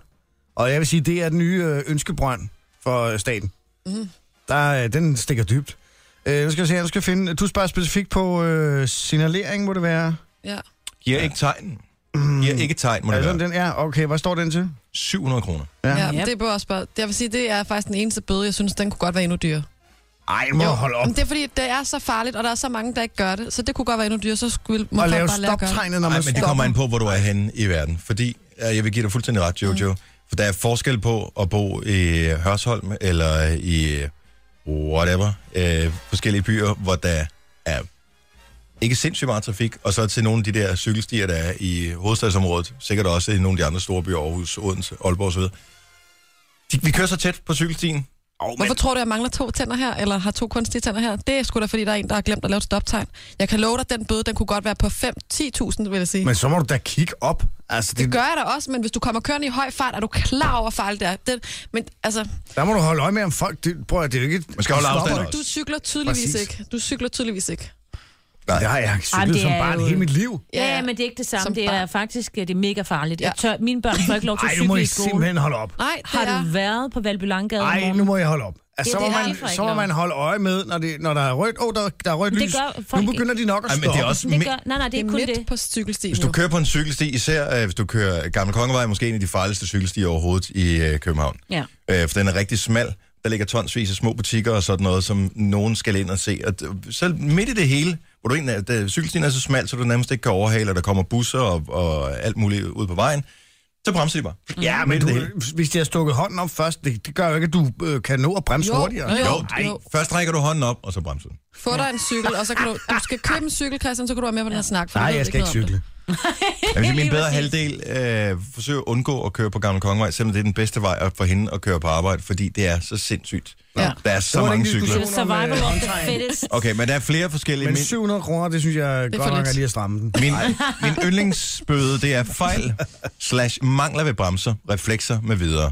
[SPEAKER 2] Og jeg vil sige, det er den nye øh, ønskebrønd for øh, staten.
[SPEAKER 4] Mhm.
[SPEAKER 2] Der, øh, den stikker dybt. Øh, nu skal jeg se, her, du skal finde... Du spørger specifikt på øh, signalering, må det være?
[SPEAKER 4] Ja.
[SPEAKER 1] Giver ikke tegn. Giver ikke tegn, må
[SPEAKER 2] Er
[SPEAKER 1] Mm. det
[SPEAKER 2] sådan,
[SPEAKER 1] være.
[SPEAKER 2] den er? Okay, hvad står den til?
[SPEAKER 1] 700 kroner.
[SPEAKER 4] Ja,
[SPEAKER 3] Yep.
[SPEAKER 4] yep. det bør også bare... Jeg vil sige, det er faktisk den eneste bøde, jeg synes, den kunne godt være endnu dyrere.
[SPEAKER 2] Ej, må hold op.
[SPEAKER 4] Men det er fordi, det er så farligt, og der er så mange, der ikke gør det. Så det kunne godt være endnu dyrere, så skulle må
[SPEAKER 2] Og
[SPEAKER 4] folk
[SPEAKER 2] lave
[SPEAKER 4] bare lære at gøre det.
[SPEAKER 2] stoptegnet, når man
[SPEAKER 1] Nej, men det kommer
[SPEAKER 2] stopper.
[SPEAKER 1] an på, hvor du er henne i verden. Fordi, øh, jeg vil give dig fuldstændig ret, Jojo, mm. for der er forskel på at bo i Hørsholm eller i øh, whatever, øh, forskellige byer, hvor der er ikke sindssygt meget trafik, og så til nogle af de der cykelstier, der er i hovedstadsområdet, sikkert også i nogle af de andre store byer, Aarhus, Odense, Aalborg osv. De, vi kører så tæt på cykelstien.
[SPEAKER 4] Hvorfor tror du, jeg mangler to tænder her, eller har to kunstige tænder her? Det er sgu da, fordi der er en, der har glemt at lave et stoptegn. Jeg kan love dig, den bøde, den kunne godt være på 5-10.000, vil jeg sige. Men,
[SPEAKER 2] Men så må du da kigge op. Altså, det,
[SPEAKER 4] det gør jeg da også, men hvis du kommer kørende i høj fart, er du klar over fejl der. Den, men altså,
[SPEAKER 2] Der må du holde øje med, om folk... Det, prøv at det er jo ikke...
[SPEAKER 1] Man skal holde
[SPEAKER 2] Stopper
[SPEAKER 1] afstand
[SPEAKER 2] du?
[SPEAKER 1] også.
[SPEAKER 4] du cykler tydeligvis
[SPEAKER 2] Præcis.
[SPEAKER 4] ikke. Du cykler tydeligvis ikke.
[SPEAKER 1] Nej.
[SPEAKER 2] Det har jeg cyklet
[SPEAKER 3] Jamen, det
[SPEAKER 2] som
[SPEAKER 3] er
[SPEAKER 2] barn
[SPEAKER 3] jo-
[SPEAKER 2] hele mit liv.
[SPEAKER 3] Ja, ja, men det er ikke det samme.
[SPEAKER 4] Som
[SPEAKER 3] Det er
[SPEAKER 4] barn.
[SPEAKER 3] faktisk øh, det er mega farligt.
[SPEAKER 4] Ja.
[SPEAKER 3] Jeg tør, mine børn får ikke lov til at
[SPEAKER 2] Ej, nu må
[SPEAKER 3] cykle i
[SPEAKER 2] I
[SPEAKER 3] skolen.
[SPEAKER 2] simpelthen holde op.
[SPEAKER 4] Nej, det
[SPEAKER 3] Har
[SPEAKER 4] er...
[SPEAKER 3] du været på Valby Langgade om
[SPEAKER 2] Ej,
[SPEAKER 3] morgenen?
[SPEAKER 2] nu må jeg holde op. Altså,
[SPEAKER 3] Det
[SPEAKER 2] så
[SPEAKER 3] er
[SPEAKER 2] må,
[SPEAKER 3] det,
[SPEAKER 2] man,
[SPEAKER 3] jeg får ikke
[SPEAKER 2] så må
[SPEAKER 3] lov.
[SPEAKER 2] man holde øje med, når, det, når der er rødt, oh, der, der er rødt
[SPEAKER 3] Det
[SPEAKER 2] lys.
[SPEAKER 3] gør folk
[SPEAKER 2] Nu begynder de nok at
[SPEAKER 1] Ej, men
[SPEAKER 2] stoppe.
[SPEAKER 1] det er også
[SPEAKER 3] Det
[SPEAKER 1] mi-
[SPEAKER 3] gør, nej, nej, det
[SPEAKER 4] Det
[SPEAKER 3] er
[SPEAKER 4] er
[SPEAKER 3] kun
[SPEAKER 4] midt
[SPEAKER 3] det.
[SPEAKER 4] på cykelstien.
[SPEAKER 1] Hvis du kører på en cykelsti, især øh, hvis du kører Gamle Kongevej, måske en af de farligste cykelstier overhovedet i øh, København.
[SPEAKER 3] Ja.
[SPEAKER 1] Øh, for den er rigtig smal. Der ligger tonsvis af små butikker og sådan noget, som nogen skal ind og se. Og d- så midt i det hele, hvor du egentlig, er- da cykelstien er så smal, så du nærmest ikke kan overhale, og der kommer busser og, og alt muligt ud på vejen, så bremser de bare.
[SPEAKER 2] Ja, men du, hvis de har stukket hånden op først, det, det gør jo ikke, at du øh, kan nå at bremse
[SPEAKER 4] Jo,
[SPEAKER 2] hurtigere.
[SPEAKER 4] jo,
[SPEAKER 1] Jo,
[SPEAKER 4] jo.
[SPEAKER 1] jo. først rækker du hånden op, og så bremser du.
[SPEAKER 4] Få dig en cykel, og så kan du... Du skal købe en cykel, Christian, så kan du være med på den her snak. for
[SPEAKER 2] Nej,
[SPEAKER 4] du ved
[SPEAKER 2] jeg skal ikke
[SPEAKER 4] noget om
[SPEAKER 2] cykle.
[SPEAKER 4] det.
[SPEAKER 1] Jeg vil sige, min
[SPEAKER 3] Lige
[SPEAKER 1] bedre
[SPEAKER 3] præcis.
[SPEAKER 1] halvdel øh, forsøger at undgå at køre på Gamle Kongevej, selvom det er den bedste vej at- for hende at køre på arbejde, fordi det er så sindssygt.
[SPEAKER 3] Ja.
[SPEAKER 1] Der er så
[SPEAKER 2] var
[SPEAKER 1] mange
[SPEAKER 2] ikke en
[SPEAKER 1] cykler.
[SPEAKER 2] diskussion.
[SPEAKER 3] Det er survival of the fittest.
[SPEAKER 1] Okay, men der er flere forskellige.
[SPEAKER 2] Men
[SPEAKER 1] Min-
[SPEAKER 2] 700 kroner, det synes jeg
[SPEAKER 4] er
[SPEAKER 2] godt
[SPEAKER 4] for
[SPEAKER 2] nok
[SPEAKER 4] lidt.
[SPEAKER 2] er lige at stramme den.
[SPEAKER 1] Min, min yndlingsbøde, det er fejl slash mangler ved bremser, reflekser med videre.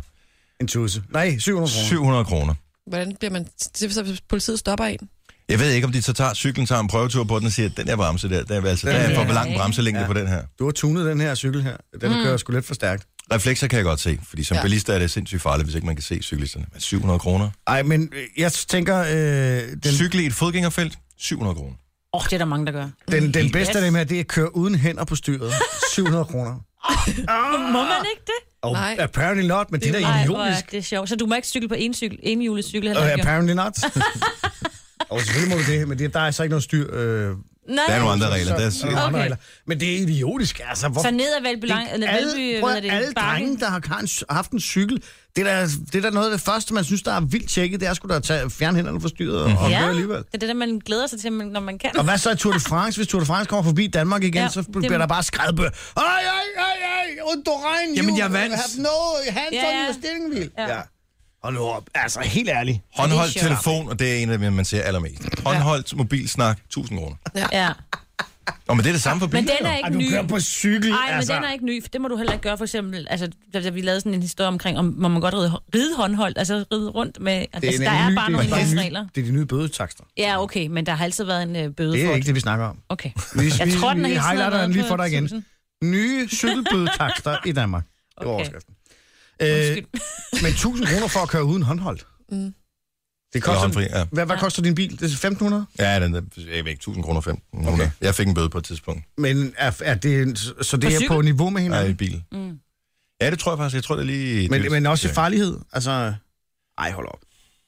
[SPEAKER 2] En tusse. Nej, 700 kroner.
[SPEAKER 1] 700 kroner.
[SPEAKER 4] Hvordan bliver man... Det er så, hvis politiet stopper en.
[SPEAKER 1] Jeg ved ikke, om de så tager cyklen, tager en prøvetur på den og siger, at den der bremse der, der er, altså, der er for lang bremselængde ja. på den her.
[SPEAKER 2] Du har tunet den her cykel her. Den mm. kører sgu lidt for stærkt.
[SPEAKER 1] Reflekser kan jeg godt se, fordi som ja.
[SPEAKER 4] Ja.
[SPEAKER 1] bilist er det sindssygt farligt, hvis ikke man kan se cyklisterne. Men 700 kroner.
[SPEAKER 2] Ej, men øh, jeg tænker, øh, den,
[SPEAKER 1] Den... Cykle i et fodgængerfelt, 700 kroner.
[SPEAKER 3] Åh, oh, det er der mange, der gør.
[SPEAKER 2] den, den bedste af dem her, det er at køre uden hænder på styret. 700 kroner.
[SPEAKER 3] Må man ikke det?
[SPEAKER 2] Og
[SPEAKER 4] Nej.
[SPEAKER 2] apparently not, men det, det er da
[SPEAKER 3] Ej, hvor er
[SPEAKER 2] idiotisk.
[SPEAKER 3] det sjovt. Så du må ikke cykle på en cykel, en julecykel heller
[SPEAKER 2] Uh,
[SPEAKER 3] ikke?
[SPEAKER 2] apparently not. og selvfølgelig må du det, men det, der er så ikke noget styr. Øh,
[SPEAKER 3] Nej,
[SPEAKER 1] Der er nogle andre regler. Der er,
[SPEAKER 2] så er der nogle andre
[SPEAKER 3] Okay.
[SPEAKER 2] regler. Men det er idiotisk, altså. Hvor,
[SPEAKER 3] så ned ad Valby Lang, eller Valby,
[SPEAKER 2] alle, prøv,
[SPEAKER 3] hvad er
[SPEAKER 2] at-
[SPEAKER 3] det?
[SPEAKER 2] alle
[SPEAKER 3] Bakken.
[SPEAKER 2] drenge, der har har en- haft en cykel, det er, da, det er da noget af det første, man synes, der er vildt tjekket, det er sgu da at tage fjernhænderne fra styret og, og køre alligevel.
[SPEAKER 3] det er det, der man glæder sig til, men- når man kan.
[SPEAKER 2] Og hvad så i Tour de France? Hvis Tour de France kommer forbi Danmark igen,
[SPEAKER 3] Ja,
[SPEAKER 2] ja, så
[SPEAKER 3] det-
[SPEAKER 2] bliver der bare skrædbø. Ej, ej, ej, ej, und du regn,
[SPEAKER 1] Jamen,
[SPEAKER 2] you
[SPEAKER 1] jeg vandt.
[SPEAKER 2] have no hands ja,
[SPEAKER 3] Ja,
[SPEAKER 2] ja.
[SPEAKER 3] ja.
[SPEAKER 2] on your steering wheel.
[SPEAKER 3] Ja.
[SPEAKER 2] Ja. Hold nu op. Altså, helt ærligt.
[SPEAKER 1] Håndholdt
[SPEAKER 3] Ja, det er sjovt.
[SPEAKER 1] telefon, og det er en af dem, man ser allermest. Håndholdt mobilsnak, 1000 kroner.
[SPEAKER 3] Ja.
[SPEAKER 1] Og men det er det samme for biler.
[SPEAKER 3] Men den
[SPEAKER 1] jo.
[SPEAKER 3] er
[SPEAKER 2] Ej,
[SPEAKER 3] ikke
[SPEAKER 2] du
[SPEAKER 3] ny.
[SPEAKER 2] kører på cykel,
[SPEAKER 3] Nej, men
[SPEAKER 2] altså.
[SPEAKER 3] den er ikke ny, for det må du heller ikke gøre, for eksempel, altså, da, da vi lavede sådan en historie omkring, om må man godt ride, ride håndholdt, altså ride rundt med, altså, der er bare nogle regler.
[SPEAKER 2] Det er de nye bødetakster.
[SPEAKER 3] Ja, okay, men der har altid været en øh, bøde
[SPEAKER 2] Det
[SPEAKER 3] for
[SPEAKER 2] er ikke det, vi snakker om.
[SPEAKER 3] Okay.
[SPEAKER 2] Vi,
[SPEAKER 3] Jeg
[SPEAKER 2] vi,
[SPEAKER 3] tror, den er
[SPEAKER 2] vi
[SPEAKER 3] helt sådan
[SPEAKER 2] highlighter
[SPEAKER 3] noget
[SPEAKER 2] den lige
[SPEAKER 3] på
[SPEAKER 2] for dig igen.
[SPEAKER 3] 1000.
[SPEAKER 2] Nye cykelbødetakster i Danmark. Det var
[SPEAKER 3] Okay.
[SPEAKER 2] overskriften. Øh,
[SPEAKER 3] Undskyld.
[SPEAKER 2] men 1000 kroner for at køre uden håndholdt. Det
[SPEAKER 1] Eller
[SPEAKER 2] koster,
[SPEAKER 1] håndfri, ja.
[SPEAKER 2] hvad, hvad koster din bil? Det er 1500?
[SPEAKER 1] Ja, den er, jeg ved ikke, 1000 kroner 15. Okay. Jeg fik en bøde på et tidspunkt.
[SPEAKER 2] Men er, er det, så det
[SPEAKER 3] På
[SPEAKER 2] er på
[SPEAKER 3] cykel?
[SPEAKER 2] niveau
[SPEAKER 1] Nej,
[SPEAKER 2] med hinanden?
[SPEAKER 1] i bil. Mm. Ja, det tror jeg faktisk. Jeg tror, det er lige...
[SPEAKER 2] Men,
[SPEAKER 1] det-
[SPEAKER 2] men også i
[SPEAKER 1] det-
[SPEAKER 2] farlighed. Altså, ej, hold op.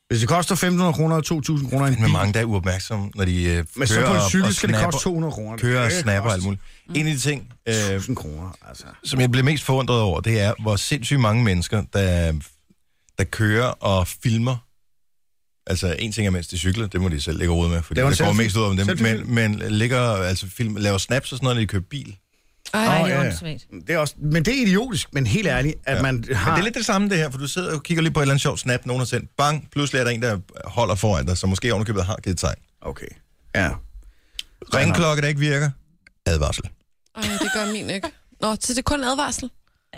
[SPEAKER 2] Hvis det koster 1.500 kroner og 2.000 kroner i en
[SPEAKER 1] Men
[SPEAKER 2] bil,
[SPEAKER 1] mange, der er uopmærksomme, når de øh,
[SPEAKER 2] men så
[SPEAKER 1] kører
[SPEAKER 2] på en
[SPEAKER 1] og-
[SPEAKER 2] cykel
[SPEAKER 1] og
[SPEAKER 2] skal det
[SPEAKER 1] snapper-
[SPEAKER 2] koste 200 kroner.
[SPEAKER 1] Kører og
[SPEAKER 2] Det Mm.
[SPEAKER 1] snapper og alt
[SPEAKER 2] koster
[SPEAKER 1] muligt. En af de ting, øh,
[SPEAKER 2] 1.000 kroner, altså.
[SPEAKER 1] som jeg blev mest forundret over, det er, hvor sindssygt mange mennesker, der, der kører og filmer. Altså, en ting er, mens de cykler, det må de selv lægge råd med, fordi
[SPEAKER 2] Laver en
[SPEAKER 1] det går
[SPEAKER 2] selfie?
[SPEAKER 1] mest ud af dem.
[SPEAKER 2] Selfie-film?
[SPEAKER 1] Men, men ligger, altså, film, laver snaps og sådan noget, når de kører bil.
[SPEAKER 4] Ej,
[SPEAKER 2] Nå,
[SPEAKER 3] det er
[SPEAKER 2] ja, ja.
[SPEAKER 3] åndssvagt.
[SPEAKER 2] Det er også, men det er idiotisk, men helt ærligt, at ja. man har...
[SPEAKER 1] Men det er lidt det samme det her, for du sidder og kigger lige på et eller andet sjovt snap, nogen har sendt. Bang, pludselig er der en, der holder foran dig, som måske ovenikøbet har givet tegn.
[SPEAKER 2] Okay. Ja.
[SPEAKER 1] Ringklokke, der ikke virker. Advarsel.
[SPEAKER 4] Ej, det gør min ikke. Nå, så det er kun advarsel.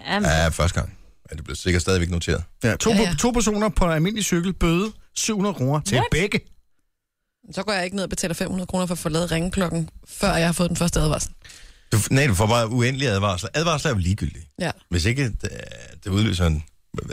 [SPEAKER 3] Ja, men-
[SPEAKER 1] Ja, første gang. Ja, det blev sikkert stadigvæk noteret.
[SPEAKER 2] ja, to,
[SPEAKER 4] Ja,
[SPEAKER 2] ja,
[SPEAKER 4] ja.
[SPEAKER 2] ja. to personer på en almindelig cykel bøde 700 kroner til
[SPEAKER 3] What?
[SPEAKER 2] begge.
[SPEAKER 4] Så går jeg ikke ned og betaler 500 kroner for at få lavet ringeklokken, før jeg har fået den første advarsel.
[SPEAKER 1] Du, nej, du får bare uendelige advarsler. Advarsler er jo ligegyldige.
[SPEAKER 4] Ja.
[SPEAKER 1] Hvis ikke det, det udløser en...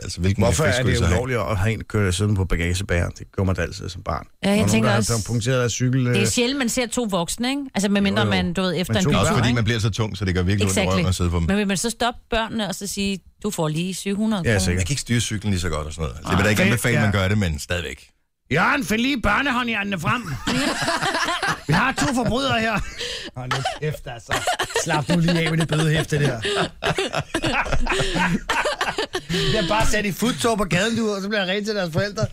[SPEAKER 1] Altså, hvilken
[SPEAKER 2] Hvorfor
[SPEAKER 1] effekt
[SPEAKER 2] er
[SPEAKER 1] skulle
[SPEAKER 2] det
[SPEAKER 1] så have?
[SPEAKER 2] ulovligt at have en kørt siden på bagagebæren? Det gjorde man da altid som barn.
[SPEAKER 3] Ja, jeg
[SPEAKER 2] Og nogen,
[SPEAKER 3] tænker
[SPEAKER 2] der
[SPEAKER 3] også-
[SPEAKER 2] Der punkteret af cykel...
[SPEAKER 3] Det er
[SPEAKER 2] øh,
[SPEAKER 3] sjældent, man ser to voksne, ikke? Altså, medmindre
[SPEAKER 2] Jo, jo.
[SPEAKER 3] man, du ved, efter
[SPEAKER 2] Men
[SPEAKER 3] en
[SPEAKER 2] to
[SPEAKER 1] Det er
[SPEAKER 3] bytur,
[SPEAKER 1] Også fordi
[SPEAKER 3] ikke?
[SPEAKER 1] man bliver så tung, så det gør virkelig ondt i
[SPEAKER 3] Exactly.
[SPEAKER 1] røven at sidde på dem.
[SPEAKER 3] Men vil man så stoppe børnene og så sige, du får lige 700
[SPEAKER 2] Ja,
[SPEAKER 3] kroner?
[SPEAKER 2] sikkert.
[SPEAKER 1] Jeg kan ikke styre cyklen lige så godt og sådan noget. Altså, det vil da ikke
[SPEAKER 2] Ah.
[SPEAKER 1] anbefale, at man
[SPEAKER 2] Ja.
[SPEAKER 1] gør det, men stadigvæk.
[SPEAKER 2] Jørgen, find lige børnehåndjernene frem. Vi har to forbrydere her. Hold nu kæft, altså. Slap nu lige af med det bødehæfte der. jeg er bare sat i futtog på gaden, du, og så bliver jeg ringet til deres forældre.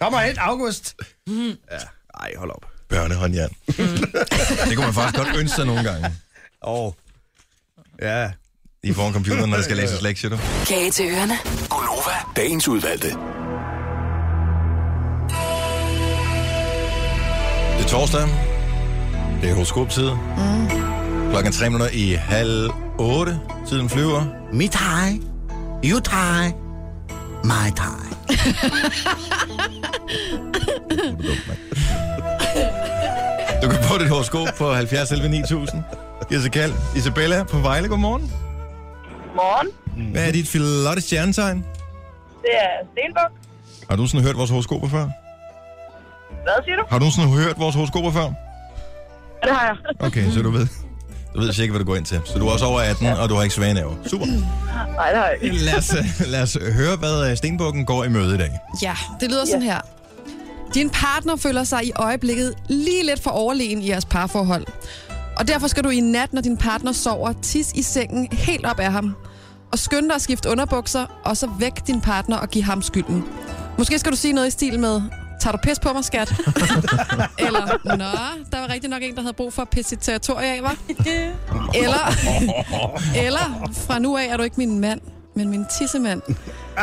[SPEAKER 2] Kom og hent, August. Ja. Ej, hold op.
[SPEAKER 1] Børnehåndjern.
[SPEAKER 3] Mm.
[SPEAKER 1] det kunne man faktisk godt ønske sig nogle gange.
[SPEAKER 2] Åh. Oh. Ja.
[SPEAKER 1] I foran computeren, når der skal læses lektier, du.
[SPEAKER 6] Kage til ørerne.
[SPEAKER 7] Gonova, dagens udvalgte.
[SPEAKER 1] Det er torsdag. Det er horoskoptid. Mm. Klokken er tre minutter i halv otte. Tiden flyver.
[SPEAKER 2] Mit hej. You tie. My tie.
[SPEAKER 1] Du kan få dit horoskop på 70 11 9000. Giv os et kald. Isabella på Vejle, godmorgen.
[SPEAKER 8] Morgen.
[SPEAKER 1] Hvad er dit flotte stjernetegn?
[SPEAKER 8] Det er Stenbuk.
[SPEAKER 1] Har du sådan hørt vores horoskoper før?
[SPEAKER 8] Hvad siger du?
[SPEAKER 1] Har du sådan hørt vores horoskoper før?
[SPEAKER 8] Ja, Det har jeg.
[SPEAKER 1] Okay, så du ved. Du ved sikkert, hvad du går ind til. Så du er også over 18, og du har ikke svage nerver. Super.
[SPEAKER 8] Nej, det har jeg ikke.
[SPEAKER 1] Lad os, lad os høre, hvad øh, Stenbukken går i møde i dag.
[SPEAKER 4] Ja, det lyder sådan her. Din partner føler sig i øjeblikket lige lidt for overlegen i jeres parforhold. Og derfor skal du i nat, når din partner sover, tisse i sengen helt op af ham. Og skynde dig at skifte underbukser, og så væk din partner og give ham skylden. Måske skal du sige noget i stil med, tager du pis på mig, skat? Eller, nå, der var rigtig nok en, der havde brug for at pisse sit territorie af, var? Eller, eller, fra nu af er du ikke min mand, men min tissemand.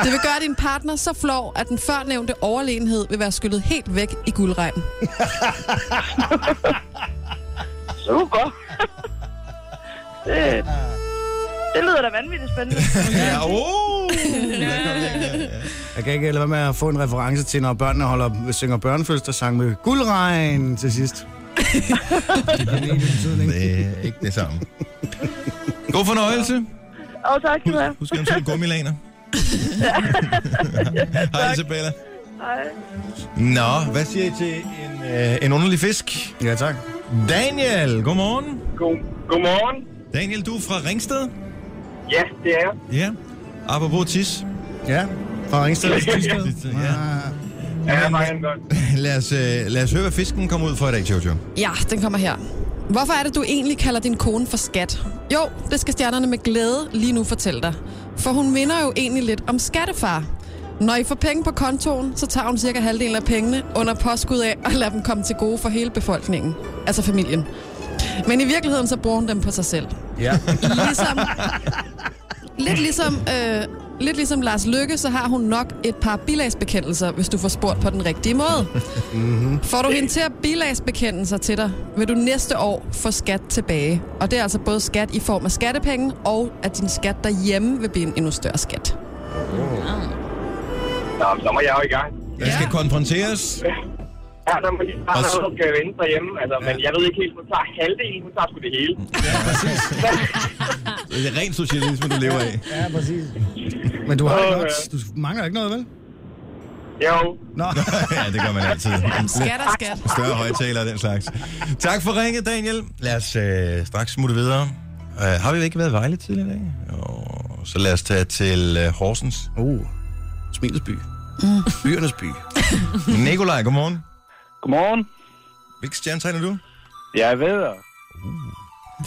[SPEAKER 4] Det vil gøre din partner så flov, at den førnævnte overlegenhed vil være skyllet helt væk i guldregn.
[SPEAKER 8] Super. det, det lyder da vanvittigt spændende.
[SPEAKER 1] Ja, oh!
[SPEAKER 2] Jeg kan ikke lade være med at få en reference til, når børnene holder, synger børnefødselsdagssang med guldregn til sidst. det er den ene betydning.
[SPEAKER 1] Det er ikke det samme. God fornøjelse.
[SPEAKER 8] Og tak skal du have.
[SPEAKER 1] Husk at have gummilaner. Hej Isabella.
[SPEAKER 8] Hej.
[SPEAKER 1] Nå, hvad siger I til en, øh, en underlig fisk?
[SPEAKER 2] Ja, tak.
[SPEAKER 1] Daniel, godmorgen.
[SPEAKER 9] God, godmorgen.
[SPEAKER 1] Daniel, du er fra Ringsted?
[SPEAKER 9] Ja, det er jeg.
[SPEAKER 1] Ja. Apropos tis.
[SPEAKER 2] Ja, fra Ringsted til Tysted.
[SPEAKER 1] Ja.
[SPEAKER 9] Ja, Marianne godt.
[SPEAKER 1] Lad, os, øh, lad os høre, hvad fisken kommer ud for i dag, Jojo.
[SPEAKER 4] Ja, den kommer her. Hvorfor er det, du egentlig kalder din kone for skat? Jo, det skal stjernerne med glæde lige nu fortælle dig. For hun minder jo egentlig lidt om skattefar. Når I får penge på kontoen, så tager hun cirka halvdelen af pengene under påskud af at lade dem komme til gode for hele befolkningen. Altså familien. Men i virkeligheden, så bruger hun dem på sig selv.
[SPEAKER 2] Ja.
[SPEAKER 4] Ligesom, lidt, ligesom, øh, lidt ligesom Lars Lykke, så har hun nok et par bilagsbekendelser, hvis du får spurgt på den rigtige måde. Får du hende til at bilagsbekende sig til dig, vil du næste år få skat tilbage. Og det er altså både skat i form af skattepenge, og at din skat derhjemme vil blive en endnu større skat.
[SPEAKER 9] Nå, men så må jeg jo i gang.
[SPEAKER 1] Den skal konfronteres.
[SPEAKER 9] Ja, der må lige bare
[SPEAKER 1] Og så-
[SPEAKER 9] noget, der skal vende derhjemme. Altså, men jeg ved ikke helt, hun tager halvdelen, hun tager sgu det hele.
[SPEAKER 1] Det er ren socialisme, du lever af.
[SPEAKER 2] ja, præcis. Men du har ikke
[SPEAKER 9] Åh,
[SPEAKER 2] nok,
[SPEAKER 9] ja.
[SPEAKER 2] du mangler ikke noget, vel?
[SPEAKER 9] Jo,
[SPEAKER 2] Nå,
[SPEAKER 1] ja, det gør man altid.
[SPEAKER 4] Skat er skat.
[SPEAKER 1] Større højtaler og den slags. Tak for ringet, Daniel. Lad os øh, straks smutte videre. Uh, har vi ikke været i Vejle tidligere i dag? Og så lad os tage til øh, Horsens.
[SPEAKER 2] Uh, smilets by. Mm. Byernes by.
[SPEAKER 1] Nikolaj, godmorgen.
[SPEAKER 10] Godmorgen.
[SPEAKER 1] Hvilke stjerne tegner du?
[SPEAKER 10] Jeg er vædder.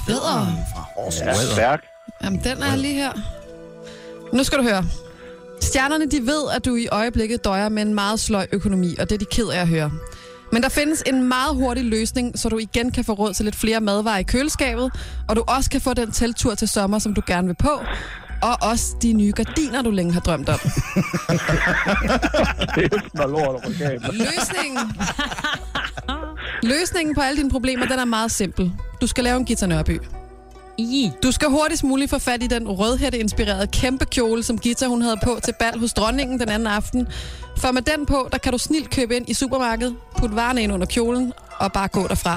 [SPEAKER 4] Bedre.
[SPEAKER 10] Jeg er stærk.
[SPEAKER 4] Jamen, den er lige her. Nu skal du høre. Stjernerne, de ved, at du i øjeblikket døjer med en meget sløj økonomi, og det er de ked af at høre. Men der findes en meget hurtig løsning, så du igen kan få råd til lidt flere madvarer i køleskabet, og du også kan få den teltur til sommer, som du gerne vil på, og også de nye gardiner, du længe har drømt om.
[SPEAKER 10] Det er sådan lort over gaben.
[SPEAKER 4] Løsningen... Løsningen på alle dine problemer, den er meget simpel. Du skal lave en Gita Nørby.
[SPEAKER 3] I.
[SPEAKER 4] Du skal hurtigst muligt få fat i den rødhætte-inspirerede kæmpe kjole, som Gita hun havde på til bal hos dronningen den anden aften. For med den på, der kan du snilt købe ind i supermarkedet, putte varerne ind under kjolen og bare gå derfra.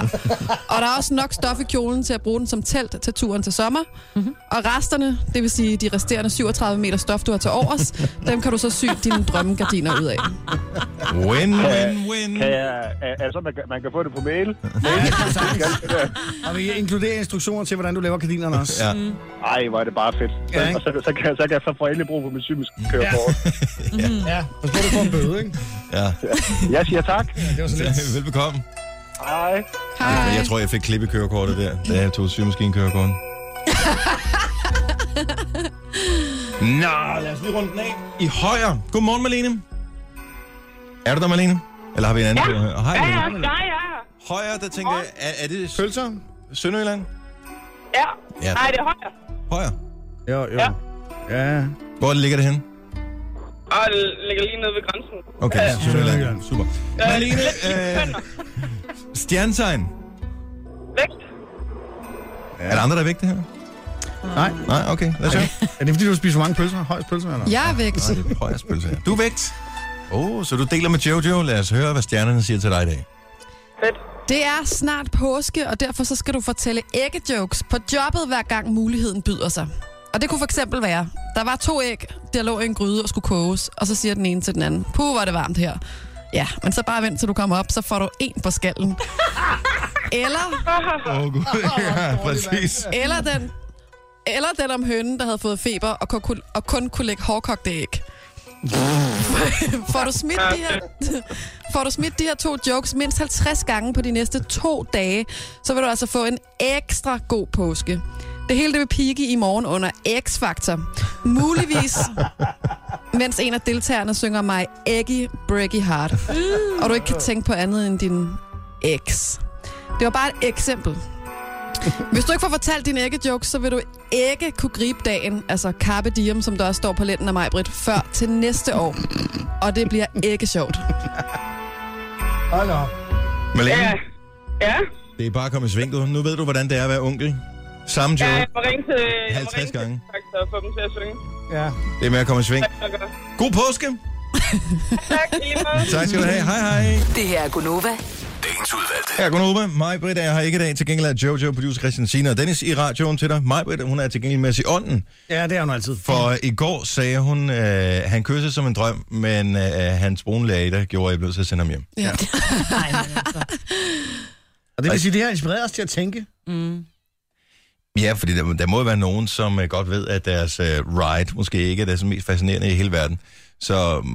[SPEAKER 4] og der er også nok stof i kjolen til at bruge den som telt til turen til sommer. Mm-hmm. Og resterne, det vil sige de resterende 37 meter stof, du har til overs, dem kan du så sy dine drømmegardiner ud af.
[SPEAKER 1] Win, win, win.
[SPEAKER 10] Kan jeg, er, er det sådan, man kan, man kan få det på mail?
[SPEAKER 2] Og vi inkluderer instruktioner til, hvordan du laver kardinerne også.
[SPEAKER 1] Ja.
[SPEAKER 10] Ej, hvor er det bare fedt. Så,
[SPEAKER 2] Ja, ikke?
[SPEAKER 10] og så, så, kan, så kan jeg så få endelig brug for min cykelsk kørekort.
[SPEAKER 2] ja. Og så du får en bøde, ikke?
[SPEAKER 1] ja.
[SPEAKER 10] Jeg siger tak.
[SPEAKER 2] Det var så lidt.
[SPEAKER 1] Velbekomme.
[SPEAKER 10] Hej.
[SPEAKER 4] Hej.
[SPEAKER 1] Jeg tror, jeg fik klippe kørekortet der, da jeg tog sygemaskinekørekortet. Nå, lad os lige runde den af. I højre. Godmorgen, Malene. Er du der, Malene? Eller har vi en anden? Ja, her? Hej,
[SPEAKER 8] Ja, ja,
[SPEAKER 1] Malene.
[SPEAKER 8] ja, ja.
[SPEAKER 1] Højre, der tænker jeg, er, er det Sø-
[SPEAKER 2] Pølser?
[SPEAKER 1] Sønderjylland?
[SPEAKER 8] Ja.
[SPEAKER 1] Ja.
[SPEAKER 8] Nej, det er højere.
[SPEAKER 1] Højre.
[SPEAKER 2] Jo, jo.
[SPEAKER 8] Ja.
[SPEAKER 2] Ja.
[SPEAKER 1] Hvor ligger det henne?
[SPEAKER 8] Ah, det ligger lige nede ved grænsen.
[SPEAKER 1] Okay, ja, Sønderjylland.
[SPEAKER 2] Sønderjylland.
[SPEAKER 1] Super. Malene, øh, stjernetegn.
[SPEAKER 8] Vægt.
[SPEAKER 1] Er der andre, der er væk det her?
[SPEAKER 2] Nej.
[SPEAKER 1] Nej, okay. Lad os høre.
[SPEAKER 2] Er det fordi, du spiser for mange pølser? Højst pølser, eller?
[SPEAKER 4] Jeg er væk.
[SPEAKER 1] Højerspølse her. Du er vægt. Oh, så du deler med Jojo. Lad os høre, hvad stjernerne siger til dig i dag.
[SPEAKER 8] Fedt.
[SPEAKER 4] Det er snart påske, og derfor så skal du fortælle æggejokes på jobbet, hver gang muligheden byder sig. Og det kunne for eksempel være, der var to æg, der lå i en gryde og skulle koges, og så siger den ene til den anden, puh, var det varmt her. Ja, men så bare vent, til du kommer op, så får du en på skallen. Eller,
[SPEAKER 1] Åh, oh, gud. Ja, præcis.
[SPEAKER 4] eller den, eller den om hønen, der havde fået feber og kun, kunne- og kun kunne lægge hårdkogte æg. får, du smidt de her, får du smidt de her to jokes mindst 50 gange på de næste to dage, så vil du altså få en ekstra god påske. Det hele det vil pike i morgen under X-Factor. Muligvis, mens en af deltagerne synger mig Eggy Breaky Heart. Og du ikke kan tænke på andet end din ex. Det var bare et eksempel. Hvis du ikke får fortalt dine æggejokes, så vil du ikke kunne gribe dagen, altså carpe diem, som der også står på letten af mig, Britt, før til næste år. Og det bliver ikke sjovt.
[SPEAKER 2] Hold op.
[SPEAKER 1] Malene,
[SPEAKER 8] Ja. Ja.
[SPEAKER 1] det er bare at komme i sving, du. Nu ved du, hvordan det er at være onkel. Samme
[SPEAKER 8] Ja,
[SPEAKER 1] joke.
[SPEAKER 8] jeg må ringe til... jeg må
[SPEAKER 1] 50
[SPEAKER 8] ringe til
[SPEAKER 1] gange.
[SPEAKER 8] Fakta og få dem til at synge.
[SPEAKER 2] Ja.
[SPEAKER 1] Det er med at komme i sving.
[SPEAKER 8] Tak, tak, tak.
[SPEAKER 1] God påske!
[SPEAKER 8] Tak, i lige måde.
[SPEAKER 1] Tak skal du have. Hej, hej.
[SPEAKER 6] Det her er Gunova.
[SPEAKER 7] Dagens udvalgte.
[SPEAKER 1] Her er Gunnova. Mig, Britt, er her ikke i dag. Til gengæld er Jojo, producer Christian Sina og Dennis i radioen til dig. Mig, Britt, hun er til gengæld med os i ånden.
[SPEAKER 2] ja, det er hun altid.
[SPEAKER 1] For i går sagde hun, øh, han kysser som en drøm, men øh, hans brune læge, der gjorde, at jeg blev til at sende ham hjem.
[SPEAKER 4] Ja.
[SPEAKER 3] Nej, men altså.
[SPEAKER 2] Og det vil sige, det har inspireret os til at tænke.
[SPEAKER 1] Ja, fordi der, der må jo være nogen, som øh, godt ved, at deres øh, ride måske ikke er det som mest fascinerende i hele verden. Så mm,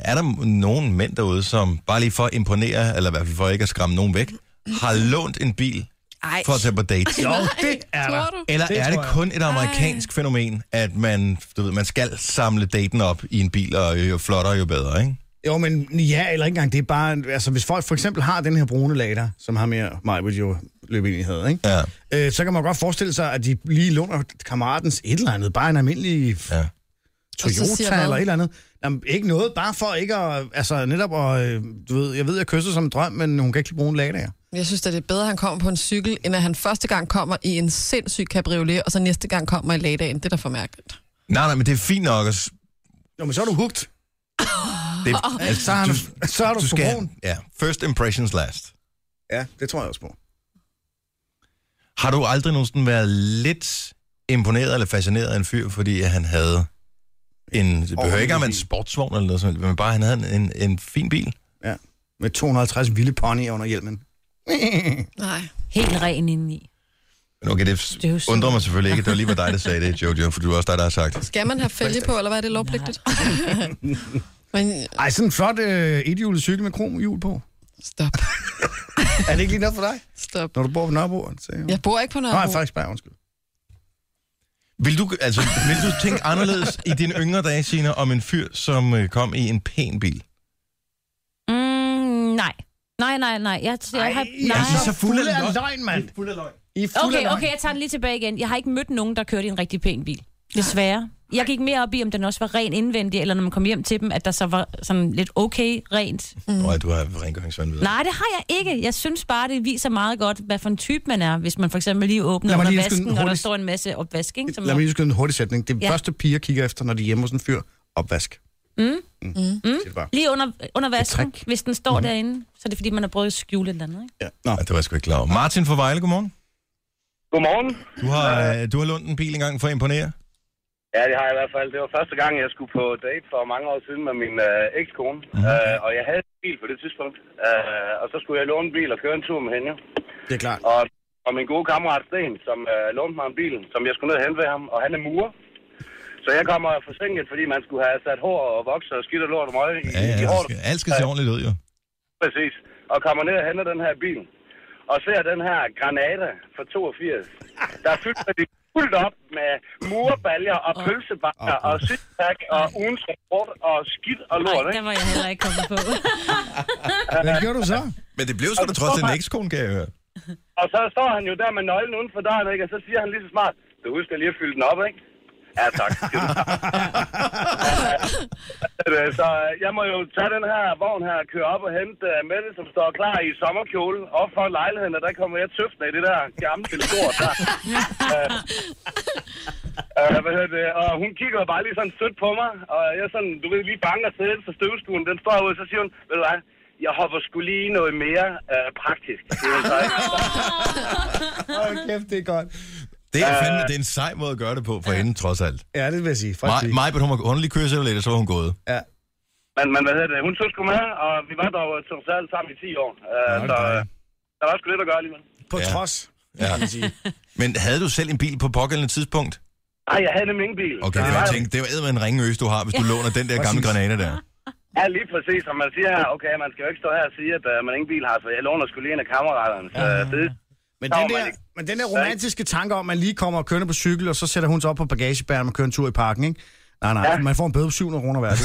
[SPEAKER 1] er der m- nogen mænd derude, som bare lige for at imponere, eller i hvert fald for ikke at skræmme nogen væk, har lånt en bil
[SPEAKER 4] Ej.
[SPEAKER 1] for at tage på date?
[SPEAKER 2] Jo, det er der.
[SPEAKER 4] Tror du?
[SPEAKER 1] Eller
[SPEAKER 2] Det
[SPEAKER 1] det er det
[SPEAKER 2] tror jeg.
[SPEAKER 1] kun et amerikansk Ej. fænomen, at man, du ved, man skal samle daten op i en bil, og jo flottere, jo bedre, ikke?
[SPEAKER 2] Jo, men ja, eller ikke engang. Det er bare, altså hvis folk for eksempel har den her brune lader, som har mere mig, vil jo løbe ind i havde, ikke?
[SPEAKER 1] Ja.
[SPEAKER 2] Øh, så kan man godt forestille sig, at de lige låner kammeratens et eller andet, bare en almindelig
[SPEAKER 1] Ja.
[SPEAKER 2] ja.
[SPEAKER 4] Og så siger
[SPEAKER 2] Toyota
[SPEAKER 4] hvad?
[SPEAKER 2] eller et eller andet. Jamen, ikke noget, bare for ikke at, altså netop at, øh, du ved, jeg ved, jeg kysser som en drøm, men hun kan ikke lige bruge en lader.
[SPEAKER 4] Jeg synes, at det er bedre, at han kommer på en cykel, end at han første gang kommer i en sindssyg cabriolet, og så næste gang kommer i lagdagen. Det er da for mærkeligt.
[SPEAKER 1] Nej, nej, men det er fint nok. at s-
[SPEAKER 2] Jo, men så er du hugt.
[SPEAKER 1] Det, altså,
[SPEAKER 2] Så er du, så er du,
[SPEAKER 1] du
[SPEAKER 2] på
[SPEAKER 1] skal,
[SPEAKER 2] broen.
[SPEAKER 1] ja, first impressions last.
[SPEAKER 2] Ja, det tror jeg også på.
[SPEAKER 1] Har du aldrig nogensinde været lidt imponeret eller fascineret af en fyr, fordi han havde en... Det behøver ikke om en sportsvogn eller noget sådan, men bare han havde en, en fin bil.
[SPEAKER 2] Ja. Med 250 vilde ponyer under hjelmen.
[SPEAKER 4] Nej.
[SPEAKER 3] Helt ren indeni.
[SPEAKER 1] Men okay, det
[SPEAKER 3] Det er jo sådan.
[SPEAKER 1] undrer mig selvfølgelig ikke, at det var lige var dig, der sagde det, Jojo, for du er også dig, der har sagt.
[SPEAKER 4] Skal man have fælge på, eller hvad er det lovpligtigt? Men
[SPEAKER 2] Ej, sådan en flot øh, ethjulet cykel med kromhjul på.
[SPEAKER 4] stop,
[SPEAKER 2] Er det ikke lige noget for dig?
[SPEAKER 4] stop.
[SPEAKER 2] Når du bor på Nørrebro? Så... Ja.
[SPEAKER 4] Jeg bor ikke på
[SPEAKER 2] Nej,
[SPEAKER 4] Nørrebro.
[SPEAKER 2] faktisk bare, undskyld.
[SPEAKER 1] Vil du, altså, vil du tænke anderledes i dine yngre dage, Sina, om en fyr, som øh, kom i en pæn bil?
[SPEAKER 3] Mm, nej. Nej, nej, nej. Jeg, jeg, jeg har,
[SPEAKER 1] Jeg synes,
[SPEAKER 3] nej.
[SPEAKER 2] altså,
[SPEAKER 1] så fulde af løgn.
[SPEAKER 2] løgn, mand. Fuld af løgn. I er fulde
[SPEAKER 3] Okay,
[SPEAKER 2] af
[SPEAKER 3] okay, jeg tager den lige tilbage igen. Jeg har ikke mødt nogen, der kørte i en rigtig pæn bil. Desværre. Jeg gik mere op i, om den også var ren indvendig, eller når man kom hjem til dem, at der så var sådan lidt okay rent. Mm.
[SPEAKER 1] Mm. du har rengøringsvandvid.
[SPEAKER 3] Nej, det har jeg ikke. Jeg synes bare, det viser meget godt, hvad for en type man er, hvis man for eksempel lige åbner
[SPEAKER 2] Lad mig
[SPEAKER 3] under
[SPEAKER 2] lige skyde
[SPEAKER 3] vasken,
[SPEAKER 2] den
[SPEAKER 3] og der
[SPEAKER 2] hurtigt.
[SPEAKER 3] står en masse opvask, ikke? Som
[SPEAKER 2] Lad mig lige skyde en hurtig sætning. Det
[SPEAKER 3] Ja.
[SPEAKER 2] ja. første piger kigger efter, når de er hjemme hos en fyr, opvask. Mm. Mm. Mm. Det bare.
[SPEAKER 3] lige under, under vasken,
[SPEAKER 2] trick.
[SPEAKER 3] hvis den står mm. derinde, så er det fordi, man har prøvet at skjule et eller andet, ikke?
[SPEAKER 2] Ja. Nå.
[SPEAKER 1] Ja, det var jeg sgu ikke klar over. Martin fra Vejle, godmorgen.
[SPEAKER 10] Godmorgen.
[SPEAKER 1] Du har, øh, du har lånt en bil engang for at imponere.
[SPEAKER 10] Ja, det har jeg i hvert fald. Det var første gang, jeg skulle på date for mange år siden med min øh, ekskone. Mm-hmm. Øh, og jeg havde en bil på det tidspunkt. Øh, og så skulle jeg låne en bil og køre en tur med hende.
[SPEAKER 2] Det er klart.
[SPEAKER 10] Og, og min gode kammerat Sten, som øh, lånte mig en bil, som jeg skulle ned og hente ved ham. Og han er murer. Så jeg kommer forsinket, fordi man skulle have sat hår og vokser og skidt og lort og møg i,
[SPEAKER 1] Ja,
[SPEAKER 10] i
[SPEAKER 1] ja,
[SPEAKER 10] håret.
[SPEAKER 1] alt skal, alt skal se ordentligt ud, jo.
[SPEAKER 10] Præcis. Og kommer ned og henter den her bil. Og ser den her Granada fra 82. Der er fyldt med de fuldt op med murbaljer og pølsebakker og sixpack og ugens rapport og skidt og
[SPEAKER 3] Nej,
[SPEAKER 10] lort,
[SPEAKER 3] der
[SPEAKER 10] ikke?
[SPEAKER 3] var jeg heller ikke kommet på.
[SPEAKER 2] Hvad gjorde du så?
[SPEAKER 1] Men det blev sgu da trods alt en ekskone, kan jeg høre.
[SPEAKER 10] Og så står han jo der med nøglen uden for døren, ikke? Og så siger han lige så smart, du husker lige at fylde den op, ikke? Ja, tak. Øh, så øh, jeg må jo tage den her vogn her og køre op og hente øh, Mette, som står klar i sommerkjole op for lejligheden, og der kommer jeg tøftende i det der gamle lort der. Øh, hvad hedder det? Og hun kigger jo bare lige sådan sødt på mig, og jeg sådan, du ved, lige banker til for støvskuen. Den står herude, så siger hun, ved du hvad, jeg hopper skulle lige noget mere øh, praktisk. siger hun så, ikke?
[SPEAKER 2] Åh, kæft, det er godt.
[SPEAKER 1] Det er, fandme, det er en sej måde at gøre det på for hende, trods alt.
[SPEAKER 2] Ja, det vil jeg sige. Frygtelig.
[SPEAKER 1] Mig, mig hun var underlig kørelse lidt, og så var hun gået.
[SPEAKER 2] Ja.
[SPEAKER 10] Men, men hvad hedder det? Hun tog sgu med, og vi var dog øh, som sagt sammen i 10 år. Øh,
[SPEAKER 2] Nå,
[SPEAKER 10] så
[SPEAKER 2] det er
[SPEAKER 10] øh, der var sgu lidt at gøre alligevel.
[SPEAKER 2] På
[SPEAKER 1] Ja.
[SPEAKER 2] ja. trods.
[SPEAKER 1] Ja. Men havde du selv en bil på pågældende tidspunkt?
[SPEAKER 10] Nej, jeg havde nemlig ingen bil.
[SPEAKER 1] Okay,
[SPEAKER 10] Så
[SPEAKER 1] det var, jeg
[SPEAKER 10] jo-
[SPEAKER 1] tænkte, det var eddermame en ringøs, du har, hvis du låner den der gamle
[SPEAKER 2] Præcis.
[SPEAKER 1] granate der.
[SPEAKER 10] Ja, lige præcis. Som man siger, okay, man skal jo ikke stå her og sige, at øh, man ingen bil har, så jeg låner sgu lige en af kammeraterne. Så, øh, det,
[SPEAKER 2] Men
[SPEAKER 10] Så
[SPEAKER 2] den,
[SPEAKER 10] var man
[SPEAKER 2] der,
[SPEAKER 10] ikke-
[SPEAKER 2] men den der romantiske tanke om, at man lige kommer og kører på cykel, og så sætter hun sig op på bagagebæren og kører en tur i parken, ikke? Nej, nej, ja. man får en bøde på 700 kroner hver dag.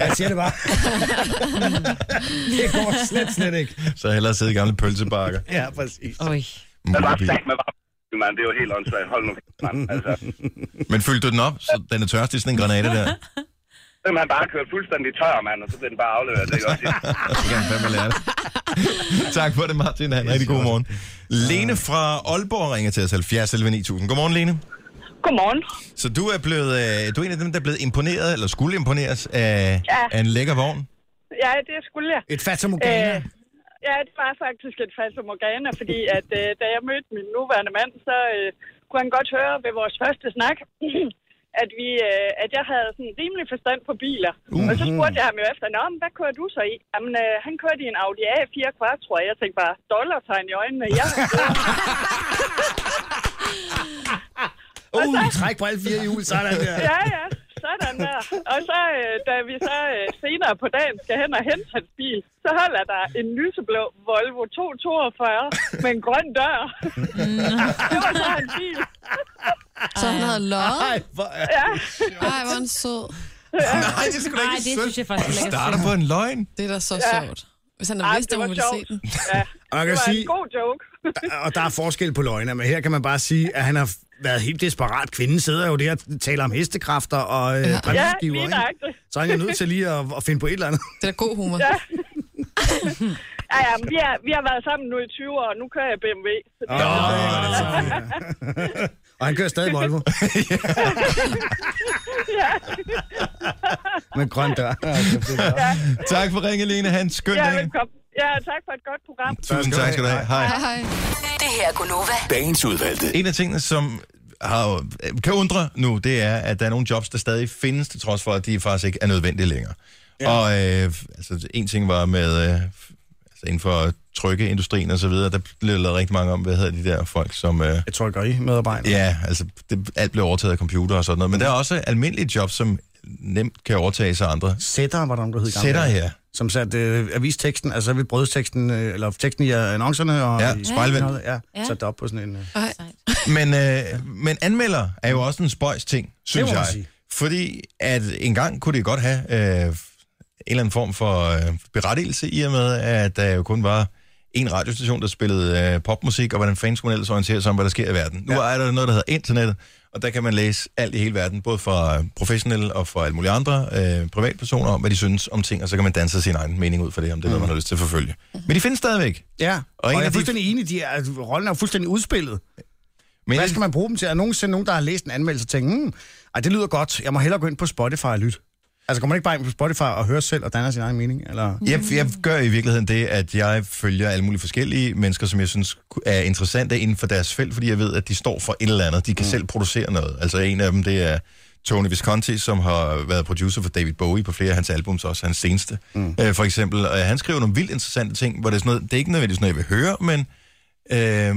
[SPEAKER 2] Jeg siger det bare. det går slet, slet ikke.
[SPEAKER 1] Så hellere sidde i gamle pølsebakker.
[SPEAKER 2] Ja, præcis.
[SPEAKER 3] Oj.
[SPEAKER 10] Man var sagt, man var man. Det er jo helt åndssvagt. Hold nu, kæft, mand. Altså,
[SPEAKER 1] Men fyldte du den op, så den er tørst i sådan en granate der?
[SPEAKER 10] så man bare kørt fuldstændig tør, mand, og så blev den bare afleveret. Det er jo også
[SPEAKER 1] Så kan han fandme lære det. tak for det, Martin. Ha' en rigtig god morgen. Lene fra Aalborg ringer til os 70 11 9000. Godmorgen, Lene.
[SPEAKER 8] Godmorgen.
[SPEAKER 1] Så du er, blevet, øh, du er en af dem, der er blevet imponeret, eller skulle imponeres af, ja. af en lækker vogn.
[SPEAKER 8] Ja, det skulle jeg.
[SPEAKER 2] Et fata morgana.
[SPEAKER 8] Øh, Ja, det var faktisk et fast Morgana, fordi at, øh, da jeg mødte min nuværende mand, så øh, kunne han godt høre ved vores første snak, at, vi, øh, at jeg havde sådan rimelig forstand på biler. Uh-huh. Og så spurgte jeg ham jo efter, Nå, men hvad kører du så i? Jamen, øh, han kørte i en Audi A4 Quattro, og jeg tænkte bare, dollartegn i øjnene. Jeg,
[SPEAKER 2] Uh, træk på alle fire hjul, sådan der.
[SPEAKER 8] ja, ja, sådan der. Og så, øh, da vi så øh, senere på dagen skal hen og hente hans bil, så holder der en lyseblå Volvo 242 med en grøn dør.
[SPEAKER 4] Mm.
[SPEAKER 8] det var så en bil.
[SPEAKER 4] Så han havde løjet.
[SPEAKER 2] Ej, hvor er...
[SPEAKER 4] Ej, hvor er han sød.
[SPEAKER 1] Nej, det skulle
[SPEAKER 3] Nej, det synes jeg faktisk ikke.
[SPEAKER 1] Starter på en løgn.
[SPEAKER 4] Det er da så sjovt. Hvis han
[SPEAKER 8] Ej,
[SPEAKER 4] havde vidst,
[SPEAKER 8] det
[SPEAKER 4] at hun
[SPEAKER 8] var
[SPEAKER 4] ville se
[SPEAKER 8] sjovt.
[SPEAKER 4] den.
[SPEAKER 8] Ja,
[SPEAKER 2] Og man
[SPEAKER 8] det
[SPEAKER 2] kan
[SPEAKER 8] var
[SPEAKER 2] sige,
[SPEAKER 8] en god joke.
[SPEAKER 2] og der er forskel på løgne, men her kan man bare sige, at han har været helt desperat. Kvinden sidder jo der og taler om hestekræfter og øh,
[SPEAKER 8] Ja,
[SPEAKER 2] bremseskiver,
[SPEAKER 8] lige
[SPEAKER 2] ikke?
[SPEAKER 8] nøjagtigt.
[SPEAKER 2] Så er han jo nødt til lige at, at finde på et eller andet.
[SPEAKER 4] Det er da god humor.
[SPEAKER 8] Ja. ja, ja, men vi, er, vi har været sammen nu i 20 år, og nu kører jeg BMW. Så det,
[SPEAKER 2] Åh, det er sådan, ja. Og han kører stadig Volvo.
[SPEAKER 8] ja.
[SPEAKER 2] Med grøn dør. Ja,
[SPEAKER 1] Tak for ringen, Lene. Ha' en skøn
[SPEAKER 8] ja,
[SPEAKER 1] dag.
[SPEAKER 8] velkommen. Ja, tak for et godt program.
[SPEAKER 1] Tusind tak skal du have. Hej.
[SPEAKER 4] Hej, hej.
[SPEAKER 6] Det her er Gunova.
[SPEAKER 7] Dagens udvalgte.
[SPEAKER 1] En af tingene, som har, øh, kan undre nu, det er, at der er nogle jobs, der stadig findes, til trods for, at de faktisk ikke er nødvendige længere. Ja. Og øh, altså, en ting var med, øh, altså inden for trykkeindustrien og så videre, der blev lavet rigtig mange om, hvad hedder de der folk, som... Øh,
[SPEAKER 2] Jeg tror, i medarbejder.
[SPEAKER 1] ja, altså det, alt blev overtaget af computer og sådan noget. Men der er også almindelige jobs, som nemt kan overtages af andre.
[SPEAKER 2] Sætter, var der nogen, der hed i gamle
[SPEAKER 1] Sætter
[SPEAKER 2] dage.
[SPEAKER 1] her.
[SPEAKER 2] Som satte øh, avisteksten, altså ved brødsteksten, øh, eller teksten i øh, annoncerne. Og
[SPEAKER 1] Ja,
[SPEAKER 2] i-
[SPEAKER 1] spejlvendt.
[SPEAKER 2] Ja,
[SPEAKER 3] Ja.
[SPEAKER 2] satte det op på sådan en... Øh.
[SPEAKER 4] Ej.
[SPEAKER 1] Men, øh, men anmelder er jo også en spøjs ting, synes
[SPEAKER 2] må man
[SPEAKER 1] jeg.
[SPEAKER 2] sige.
[SPEAKER 1] Fordi at engang kunne det godt have øh, en eller anden form for øh, berettigelse, i og med, at der jo kun var en radiostation, der spillede øh, popmusik, og hvordan fanden skulle man ellers orientere sig om, hvad der sker i verden. Nu er der noget, der hedder internettet, og der kan man læse alt i hele verden, både fra professionelle og fra alle mulige andre øh, privatpersoner, om hvad de synes om ting, og så kan man danse sin egen mening ud for det, om det
[SPEAKER 2] Mm.
[SPEAKER 1] er noget, man har lyst til at forfølge. Men de findes stadigvæk.
[SPEAKER 2] Ja, og, og
[SPEAKER 1] en
[SPEAKER 2] jeg
[SPEAKER 1] af
[SPEAKER 2] er
[SPEAKER 1] de-
[SPEAKER 2] fuldstændig enig, de er, at rollen er jo fuldstændig udspillet.
[SPEAKER 1] Men
[SPEAKER 2] Hvad skal man bruge dem til? Er der nogensinde nogen, der har læst en anmeldelse og tænkt, hmm, ej, det lyder godt, jeg må hellere gå ind på Spotify og lytte. Altså, kommer man ikke bare ind på Spotify og høre selv og danne sin egen mening? Eller?
[SPEAKER 1] Jeg, jeg gør i virkeligheden det, at jeg følger alle mulige forskellige mennesker, som jeg synes er interessante inden for deres felt, fordi jeg ved, at de står for et eller andet. De kan mm. selv producere noget. Altså en af dem, det er Tony Visconti, som har været producer for David Bowie på flere af hans albums, også hans seneste. Mm. Øh, for eksempel, og han skriver nogle vildt interessante ting, hvor det er sådan noget, det er ikke nødvendigvis noget, jeg vil høre, men øh,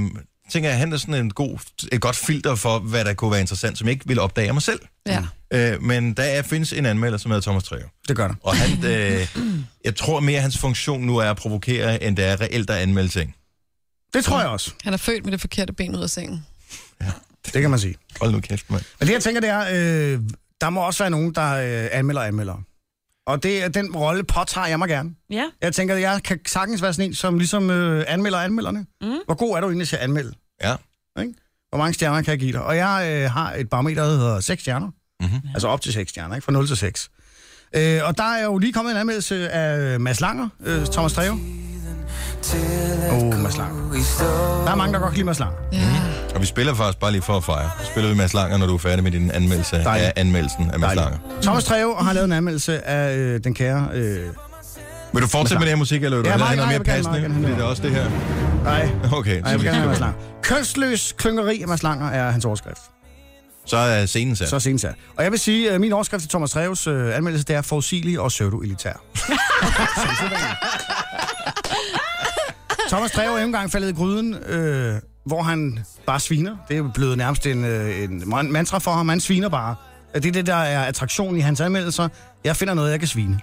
[SPEAKER 1] tænker jeg, han er sådan en god, et godt filter for, hvad der kunne være interessant, som jeg ikke ville opdage af mig selv.
[SPEAKER 4] Ja.
[SPEAKER 1] Øh, men der er, findes en anmelder, som hedder Thomas Trejo.
[SPEAKER 2] Det gør der.
[SPEAKER 1] Og han, øh, jeg tror mere, at hans funktion nu er at provokere, end det er reelt at anmelde ting.
[SPEAKER 2] Det tror jeg også.
[SPEAKER 4] Han er født med det forkerte ben ud af sengen.
[SPEAKER 2] Det kan man sige.
[SPEAKER 1] Hold nu kæft, mand.
[SPEAKER 2] Men det, jeg tænker, det er, øh, der må også være nogen, der øh, anmelder anmelder. Og det, er- den rolle påtager jeg mig gerne.
[SPEAKER 3] Ja.
[SPEAKER 2] Jeg tænker, at jeg kan sagtens være sådan en, som ligesom øh, anmelder anmelderne. Mm. Hvor god er du egentlig til at anmelde?
[SPEAKER 1] Ja.
[SPEAKER 2] Ikke? Hvor mange stjerner kan jeg give dig? Og jeg øh, har et barometer, der hedder 6 stjerner. Mm-hmm. Altså op til 6 stjerner, ikke? Fra 0 til 6. Øh, og der er jo lige kommet en anmeldelse af Mads Langer, øh, Thomas Treve. Åh, oh, Mads Langer. Der er mange, der godt kan lide Mads Langer.
[SPEAKER 4] Ja.
[SPEAKER 1] Og vi spiller faktisk bare lige for at fejre. Så spiller vi Mads Langer, når du er færdig med din anmeldelse Dejligt.
[SPEAKER 2] Dejligt.
[SPEAKER 1] af anmeldelsen af Mads Langer.
[SPEAKER 2] Thomas Treve har lavet en anmeldelse af øh, den kære... Øh,
[SPEAKER 1] Vil du fortsætte med det her musik, eller vil du
[SPEAKER 2] Ja,
[SPEAKER 1] ja,
[SPEAKER 2] meget
[SPEAKER 1] have noget
[SPEAKER 2] gerne,
[SPEAKER 1] mere
[SPEAKER 2] jeg vil
[SPEAKER 1] passende?
[SPEAKER 2] gerne, meget gerne.
[SPEAKER 1] Fordi det er også det her.
[SPEAKER 2] nej,
[SPEAKER 1] Okay,
[SPEAKER 2] nej,
[SPEAKER 1] så,
[SPEAKER 2] jeg vil gerne have Mads
[SPEAKER 1] vi,
[SPEAKER 2] Langer. Kønsløs klyngeri af Mads Langer er hans overskrift.
[SPEAKER 1] så er scenen sat.
[SPEAKER 2] Så senest er. Og jeg vil sige, at min overskrift til Thomas Treves øh, anmeldelse, det er forudsigelig og pseudo-elitær. Som sædvanlig. Thomas Treve er endnu engang faldet i gryden, øh, hvor han bare sviner. Det er blevet nærmest en, øh, en man- mantra for ham. Han sviner bare. Det er det, der er attraktionen i hans anmeldelser. Jeg finder noget, jeg kan svine.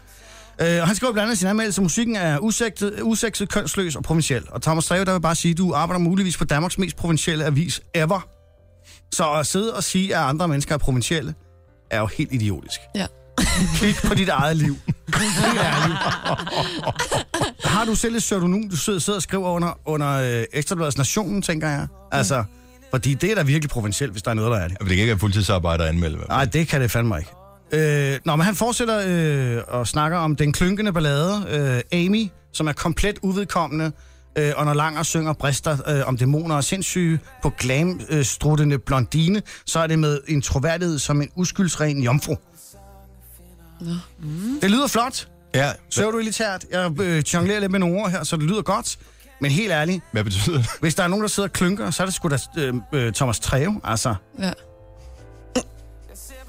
[SPEAKER 2] Øh, og han skriver blandt andet i sin anmeldelse, at musikken er usektet, usekset, kønsløs og provinciel. Og Thomas Streve, der vil bare sige, at du arbejder muligvis på Danmarks mest provincielle avis ever. Så at sidde og sige, at andre mennesker er provincielle, er jo helt idiotisk.
[SPEAKER 4] Ja.
[SPEAKER 2] Kig på dit eget liv. Helt ærligt. Har du selv et pseudonym, du sidder, sidder og skriver under, under øh, Ekstrabladets Nationen, tænker jeg? Altså, fordi det er da virkelig provincielt, hvis der er noget, der er det.
[SPEAKER 1] Men det kan ikke være fuldtidsarbejder at anmelde.
[SPEAKER 2] Nej, det kan det fandme ikke. Øh, nå, men han fortsætter øh, og snakker om den klunkende ballade, øh, Amy, som er komplet uvedkommende, øh, og når Langer synger brister øh, om dæmoner og sindssyge på glamstruttende øh, blondine, så er det med en troværdighed som en uskyldsren jomfru. Mm. Det lyder flot.
[SPEAKER 1] Ja.
[SPEAKER 2] Søger du elitært? Jeg øh, jonglerer lidt med nogle ord her, så det lyder godt. Men helt ærligt,
[SPEAKER 1] Hvad betyder det?
[SPEAKER 2] hvis der er nogen, der sidder og klynker, så er det sgu da øh, øh, Thomas Treve, altså.
[SPEAKER 4] Ja.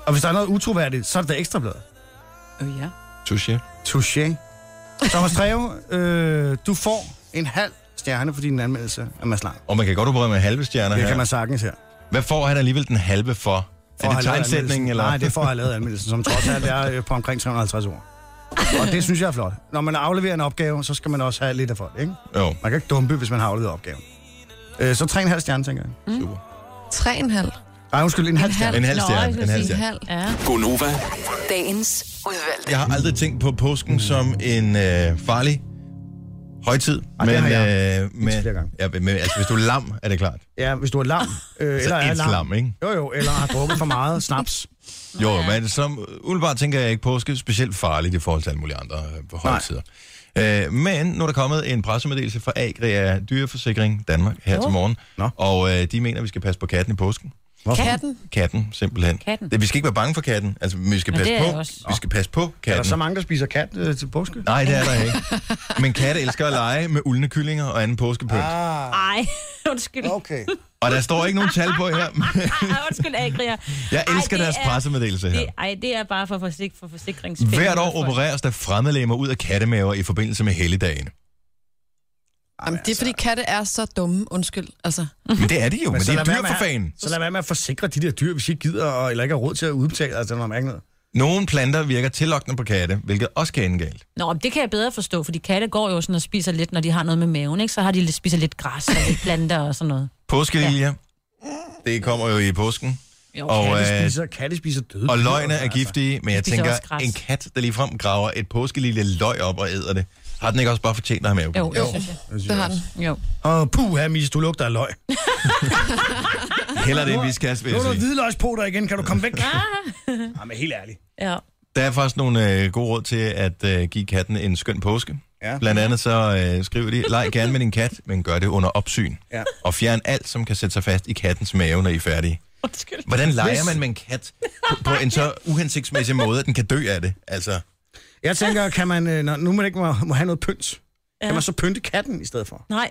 [SPEAKER 2] Og hvis der er noget utroværdigt, så er det da ekstrabladet.
[SPEAKER 3] Øh, ja.
[SPEAKER 1] Touché.
[SPEAKER 2] Touché. Thomas Treve, øh, du får en halv stjerne for din anmeldelse af Mads Lang.
[SPEAKER 1] Og man kan godt operere med halve stjerner
[SPEAKER 2] Det
[SPEAKER 1] her.
[SPEAKER 2] kan man sagtens her.
[SPEAKER 1] Hvad får han alligevel den halve for?
[SPEAKER 2] For
[SPEAKER 1] er
[SPEAKER 2] at
[SPEAKER 1] det
[SPEAKER 2] have lavet
[SPEAKER 1] tegnsætningen,
[SPEAKER 2] anmeldelsen.
[SPEAKER 1] eller?
[SPEAKER 2] Nej, det er for at have lavet anmeldelsen, som trods alt er øh, på omkring 350 ord. Og det synes jeg er flot. Når man afleverer en opgave, så skal man også have lidt af folk, ikke?
[SPEAKER 1] Jo,
[SPEAKER 2] Man kan ikke dumpe, hvis man har afleveret opgaven. Øh, så 3,5 stjerne, tænker jeg.
[SPEAKER 1] super.
[SPEAKER 4] Tre en halv.
[SPEAKER 2] Nej, undskyld, en halv stjerne.
[SPEAKER 1] En halv
[SPEAKER 3] Nå, jeg
[SPEAKER 1] stjerne.
[SPEAKER 3] skulle
[SPEAKER 1] En halv
[SPEAKER 3] sige,
[SPEAKER 4] En
[SPEAKER 1] stjerne.
[SPEAKER 4] halv.
[SPEAKER 3] Ja.
[SPEAKER 7] Gonova,
[SPEAKER 6] Dagens udvalgte.
[SPEAKER 1] Jeg har aldrig tænkt på
[SPEAKER 2] Mm.
[SPEAKER 1] påsken som en øh, farlig højtid.
[SPEAKER 2] Ej, det har jeg.
[SPEAKER 1] øh, men,
[SPEAKER 2] flere gange.
[SPEAKER 1] ja, men altså, hvis du er lam, er det klart.
[SPEAKER 2] Ja, hvis du er lam. Øh,
[SPEAKER 1] Så
[SPEAKER 2] eller er
[SPEAKER 1] et
[SPEAKER 2] lam.
[SPEAKER 1] lam, ikke?
[SPEAKER 2] Jo, jo, eller har drukket for meget snaps.
[SPEAKER 1] Jo, men altså, som umiddelbart tænker jeg ikke påske specielt farligt i forhold til alle mulige andre øh, højtider. Øh, men nu er der kommet en pressemeddelelse fra Agria Dyreforsikring Danmark her til morgen.
[SPEAKER 2] Nå.
[SPEAKER 1] Og øh, de mener, at vi skal passe på katten i påsken.
[SPEAKER 2] Hvorfor?
[SPEAKER 4] Katten.
[SPEAKER 1] Katten, simpelthen.
[SPEAKER 3] Katten.
[SPEAKER 1] Det, vi skal ikke være bange for katten. Altså, vi skal
[SPEAKER 3] Men
[SPEAKER 1] passe
[SPEAKER 3] det er jeg
[SPEAKER 1] på.
[SPEAKER 3] også.
[SPEAKER 1] Vi skal passe på
[SPEAKER 2] Er der så
[SPEAKER 1] katten.
[SPEAKER 2] mange, der spiser kat øh, til påske?
[SPEAKER 1] Nej, det er der ikke. Men katte elsker at lege med uldne kyllinger og anden påskepynt. Ah.
[SPEAKER 3] Ej, undskyld.
[SPEAKER 2] Okay.
[SPEAKER 1] Og der står ikke nogen tal på her.
[SPEAKER 3] Ej, undskyld, Agria.
[SPEAKER 1] Jeg elsker
[SPEAKER 3] Ej, det
[SPEAKER 1] deres
[SPEAKER 3] er-
[SPEAKER 1] pressemeddelelse her.
[SPEAKER 3] Det, ej, det er bare for, forsik- for forsikringsfælde.
[SPEAKER 1] Hvert år opereres der fremmedlemmer ud af kattemaver i forbindelse med helligdagen.
[SPEAKER 4] Jamen, det er, fordi katte er så dumme. Undskyld. Altså,
[SPEAKER 1] Men det er de jo, men,
[SPEAKER 2] så
[SPEAKER 1] det er
[SPEAKER 2] lad være
[SPEAKER 1] dyr
[SPEAKER 2] med
[SPEAKER 1] for
[SPEAKER 2] at-
[SPEAKER 1] fanden.
[SPEAKER 2] Så lad være med at forsikre de der dyr, hvis I ikke gider, og, eller ikke har råd til at udbetale, altså når man ikke noget.
[SPEAKER 1] Nogle planter virker tillokkende på katte, hvilket også kan ende galt.
[SPEAKER 3] Nå, men det kan jeg bedre forstå, fordi katte går jo sådan og spiser lidt, når de har noget med maven, ikke? Så har de lidt, spiser lidt græs og lidt planter og sådan noget.
[SPEAKER 1] Påskeliljer, ja. det kommer jo i påsken. Jo, og,
[SPEAKER 2] Katte
[SPEAKER 1] øh,
[SPEAKER 2] spiser, katte spiser døde.
[SPEAKER 1] og
[SPEAKER 2] dyr,
[SPEAKER 1] løgne er
[SPEAKER 2] altså.
[SPEAKER 1] giftige, men jeg
[SPEAKER 3] spiser
[SPEAKER 1] tænker,
[SPEAKER 3] også græs.
[SPEAKER 1] en kat, der ligefrem graver et påskelilje løg op og æder det, har den ikke også bare fortjent at have mave?
[SPEAKER 3] Jo, jo. det synes jeg.
[SPEAKER 4] det har den.
[SPEAKER 3] Jo.
[SPEAKER 2] Og puha, Mies, du lugter af løg.
[SPEAKER 1] Heller det, end vi skal, vil jeg
[SPEAKER 2] Nu er der
[SPEAKER 1] sige.
[SPEAKER 2] hvidløgspoter igen, kan du komme væk? Nej, men helt ærligt.
[SPEAKER 3] Ah! Ja.
[SPEAKER 1] Der er faktisk nogle øh, gode råd til at øh, give katten en skøn påske. Ja.
[SPEAKER 2] Ja.
[SPEAKER 1] Blandt andet så øh, skriver de, leg gerne med din kat, men gør det under opsyn.
[SPEAKER 2] Ja.
[SPEAKER 1] Og fjern alt, som kan sætte sig fast i kattens mave, når I er færdige.
[SPEAKER 3] Undskyld.
[SPEAKER 1] Hvordan leger
[SPEAKER 2] Hvis-
[SPEAKER 1] man med en kat på, på en så uhensigtsmæssig måde, at den kan dø af det? Altså,
[SPEAKER 2] Jeg tænker, kan man, øh, når nu man ikke må, må have noget pynt, ja. kan man så pynte katten i stedet for?
[SPEAKER 3] Nej,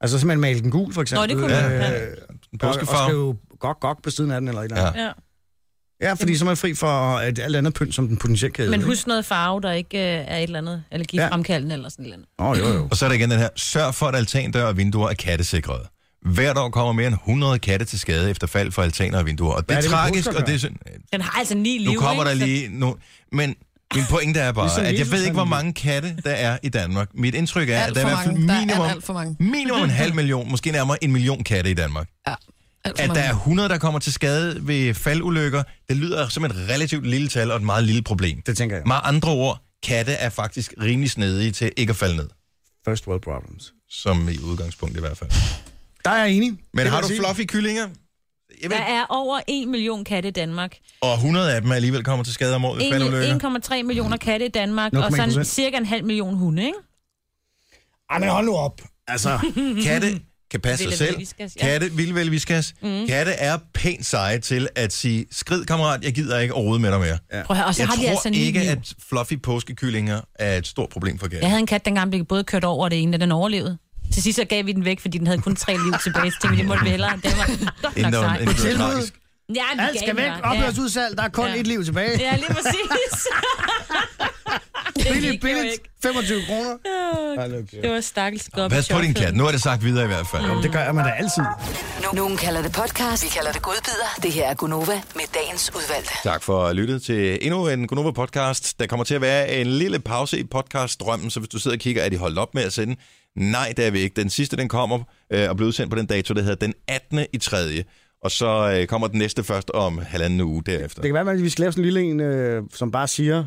[SPEAKER 2] Altså simpelthen male den gul, for eksempel. Øh,
[SPEAKER 3] det kunne man, ja.
[SPEAKER 1] en
[SPEAKER 2] Og, og
[SPEAKER 1] påskefarve.
[SPEAKER 2] skrive gok, gok på siden af den, eller et eller andet.
[SPEAKER 3] ja.
[SPEAKER 2] Ja, ja fordi så er man fri for at alt andet pynt, som den potentielt kan æde,
[SPEAKER 3] Men
[SPEAKER 2] ikke?
[SPEAKER 3] husk noget farve, der ikke øh, er et eller andet allergifremkaldende eller sådan et eller andet.
[SPEAKER 2] Åh, oh, jo, jo.
[SPEAKER 1] Og så er der igen den her, sørg for, at altandør og vinduer er kattesikrede. Hvert år kommer mere end 100 katte til skade efter fald for altaner og vinduer. Og det
[SPEAKER 2] Hvad
[SPEAKER 1] er,
[SPEAKER 2] er det, vi
[SPEAKER 1] tragisk,
[SPEAKER 2] husker
[SPEAKER 1] og det er synd.
[SPEAKER 3] Den har altså ni liv,
[SPEAKER 1] Nu kommer der
[SPEAKER 3] ikke?
[SPEAKER 1] lige... Nu, men min pointe er bare,
[SPEAKER 2] Ligesom
[SPEAKER 1] at jeg
[SPEAKER 2] Jesus,
[SPEAKER 1] ved ikke, hvor
[SPEAKER 2] han-
[SPEAKER 1] mange katte, der er i Danmark. Mit indtryk er,
[SPEAKER 4] Alt
[SPEAKER 1] at der er i
[SPEAKER 4] for
[SPEAKER 1] hvert fald
[SPEAKER 4] mange. Der er
[SPEAKER 1] minimum,
[SPEAKER 4] alt for mange.
[SPEAKER 1] minimum en halv million, måske nærmere en million katte i Danmark.
[SPEAKER 4] Ja. Alt for
[SPEAKER 1] At der
[SPEAKER 4] mange.
[SPEAKER 1] er 100, der kommer til skade ved faldulykker, det lyder som et relativt lille tal og et meget lille problem.
[SPEAKER 2] Det tænker jeg.
[SPEAKER 1] Med andre ord, katte er faktisk rimelig snedige til ikke at falde ned.
[SPEAKER 2] First world problems.
[SPEAKER 1] Som i udgangspunkt i hvert fald.
[SPEAKER 2] Der er jeg enig. Det
[SPEAKER 1] Men
[SPEAKER 2] vil
[SPEAKER 1] har
[SPEAKER 2] jeg
[SPEAKER 1] du
[SPEAKER 2] sige.
[SPEAKER 1] fluffy kyllinger? Jeg ved,
[SPEAKER 3] Der er over 1 million katte i Danmark.
[SPEAKER 1] og 100 af dem er alligevel kommer til skade om året ved
[SPEAKER 3] En-
[SPEAKER 1] faldulykker.
[SPEAKER 3] 1,3 millioner katte i Danmark, og
[SPEAKER 2] 0,1%.
[SPEAKER 3] sådan cirka en halv million hunde, ikke?
[SPEAKER 2] Ej, men hold nu op. Altså,
[SPEAKER 3] Mhm.
[SPEAKER 1] Katte kan passe sig
[SPEAKER 3] Vilde
[SPEAKER 1] selv.
[SPEAKER 3] vælviskas, ja. Mhm.
[SPEAKER 1] Katte vil vel viskas. Katte er pænt seje til at sige, skrid kammerat, jeg gider ikke overhovedet med dig mere. Ja.
[SPEAKER 3] Prøv at høre, og så
[SPEAKER 1] Jeg
[SPEAKER 3] har de
[SPEAKER 1] tror
[SPEAKER 3] altså ni
[SPEAKER 1] ikke,
[SPEAKER 3] liv.
[SPEAKER 1] at fluffy påskekyllinger er et stort problem for katte.
[SPEAKER 3] Jeg havde en kat, dengang blev både kørt over og det ene, og den overlevede. Til sidst så gav vi den væk, fordi den havde kun tre liv tilbage. Så tænkte vi, det måtte vi hellere. Den var godt nok
[SPEAKER 1] Inden der var-
[SPEAKER 3] sej.
[SPEAKER 1] inden det var
[SPEAKER 2] Tilbud.
[SPEAKER 1] tragisk.
[SPEAKER 3] Ja, vi
[SPEAKER 2] alt
[SPEAKER 3] gav
[SPEAKER 2] skal
[SPEAKER 3] den
[SPEAKER 2] væk.
[SPEAKER 3] bare. Ja.
[SPEAKER 2] Opløsudsalg. Der er kun
[SPEAKER 3] Ja.
[SPEAKER 2] et liv tilbage.
[SPEAKER 3] Ja, lige præcis.
[SPEAKER 2] Billigt, billigt. 25 kroner. Ej, det er okay.
[SPEAKER 3] Det var stakkels godt.
[SPEAKER 1] Pas på din klat. Nu er det sagt videre i hvert fald.
[SPEAKER 2] Det gør jeg mig da altid.
[SPEAKER 6] Nogen kalder det podcast, vi kalder det godbider. Det her er Gunova med dagens udvalgte.
[SPEAKER 1] Tak for at lytte til endnu en Gunova podcast. Der kommer til at være en lille pause i podcaststrømmen, så hvis du sidder og kigger, er de holdt op med at sende? Nej, det er vi ikke. Den sidste, den kommer øh, og bliver udsendt på den dato, der hedder den 18. i 3. Og så øh, kommer den næste først om halvanden uge derefter.
[SPEAKER 2] Det kan være, at vi skal lave sådan en lille en, øh, som bare siger,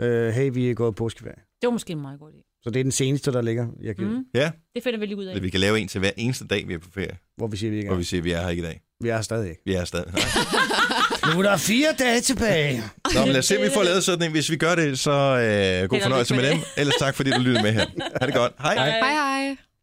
[SPEAKER 2] øh, hey, vi er gået påskeferie.
[SPEAKER 3] Det var måske en meget god idé.
[SPEAKER 2] Så det er den seneste, der ligger, jeg giver, mm.
[SPEAKER 1] Ja,
[SPEAKER 3] Det finder vi lige ud af.
[SPEAKER 1] eller vi kan lave en til hver eneste dag, vi er på ferie,
[SPEAKER 2] hvor vi siger, vi ikke
[SPEAKER 1] hvor
[SPEAKER 2] er.
[SPEAKER 1] vi siger, at vi er her ikke i dag.
[SPEAKER 2] Vi er her stadig ikke.
[SPEAKER 1] Vi er her stadig. Nej.
[SPEAKER 2] Nu er der fire dage tilbage.
[SPEAKER 1] Nå, men lad os se, om vi får lavet sådan en. Hvis vi gør det, så øh, god
[SPEAKER 3] lykke
[SPEAKER 1] fornøjelse
[SPEAKER 3] med
[SPEAKER 1] med
[SPEAKER 3] det.
[SPEAKER 1] dem. Ellers tak, fordi du lyttede med her. Ha' det godt. Hej.
[SPEAKER 4] Hej hej.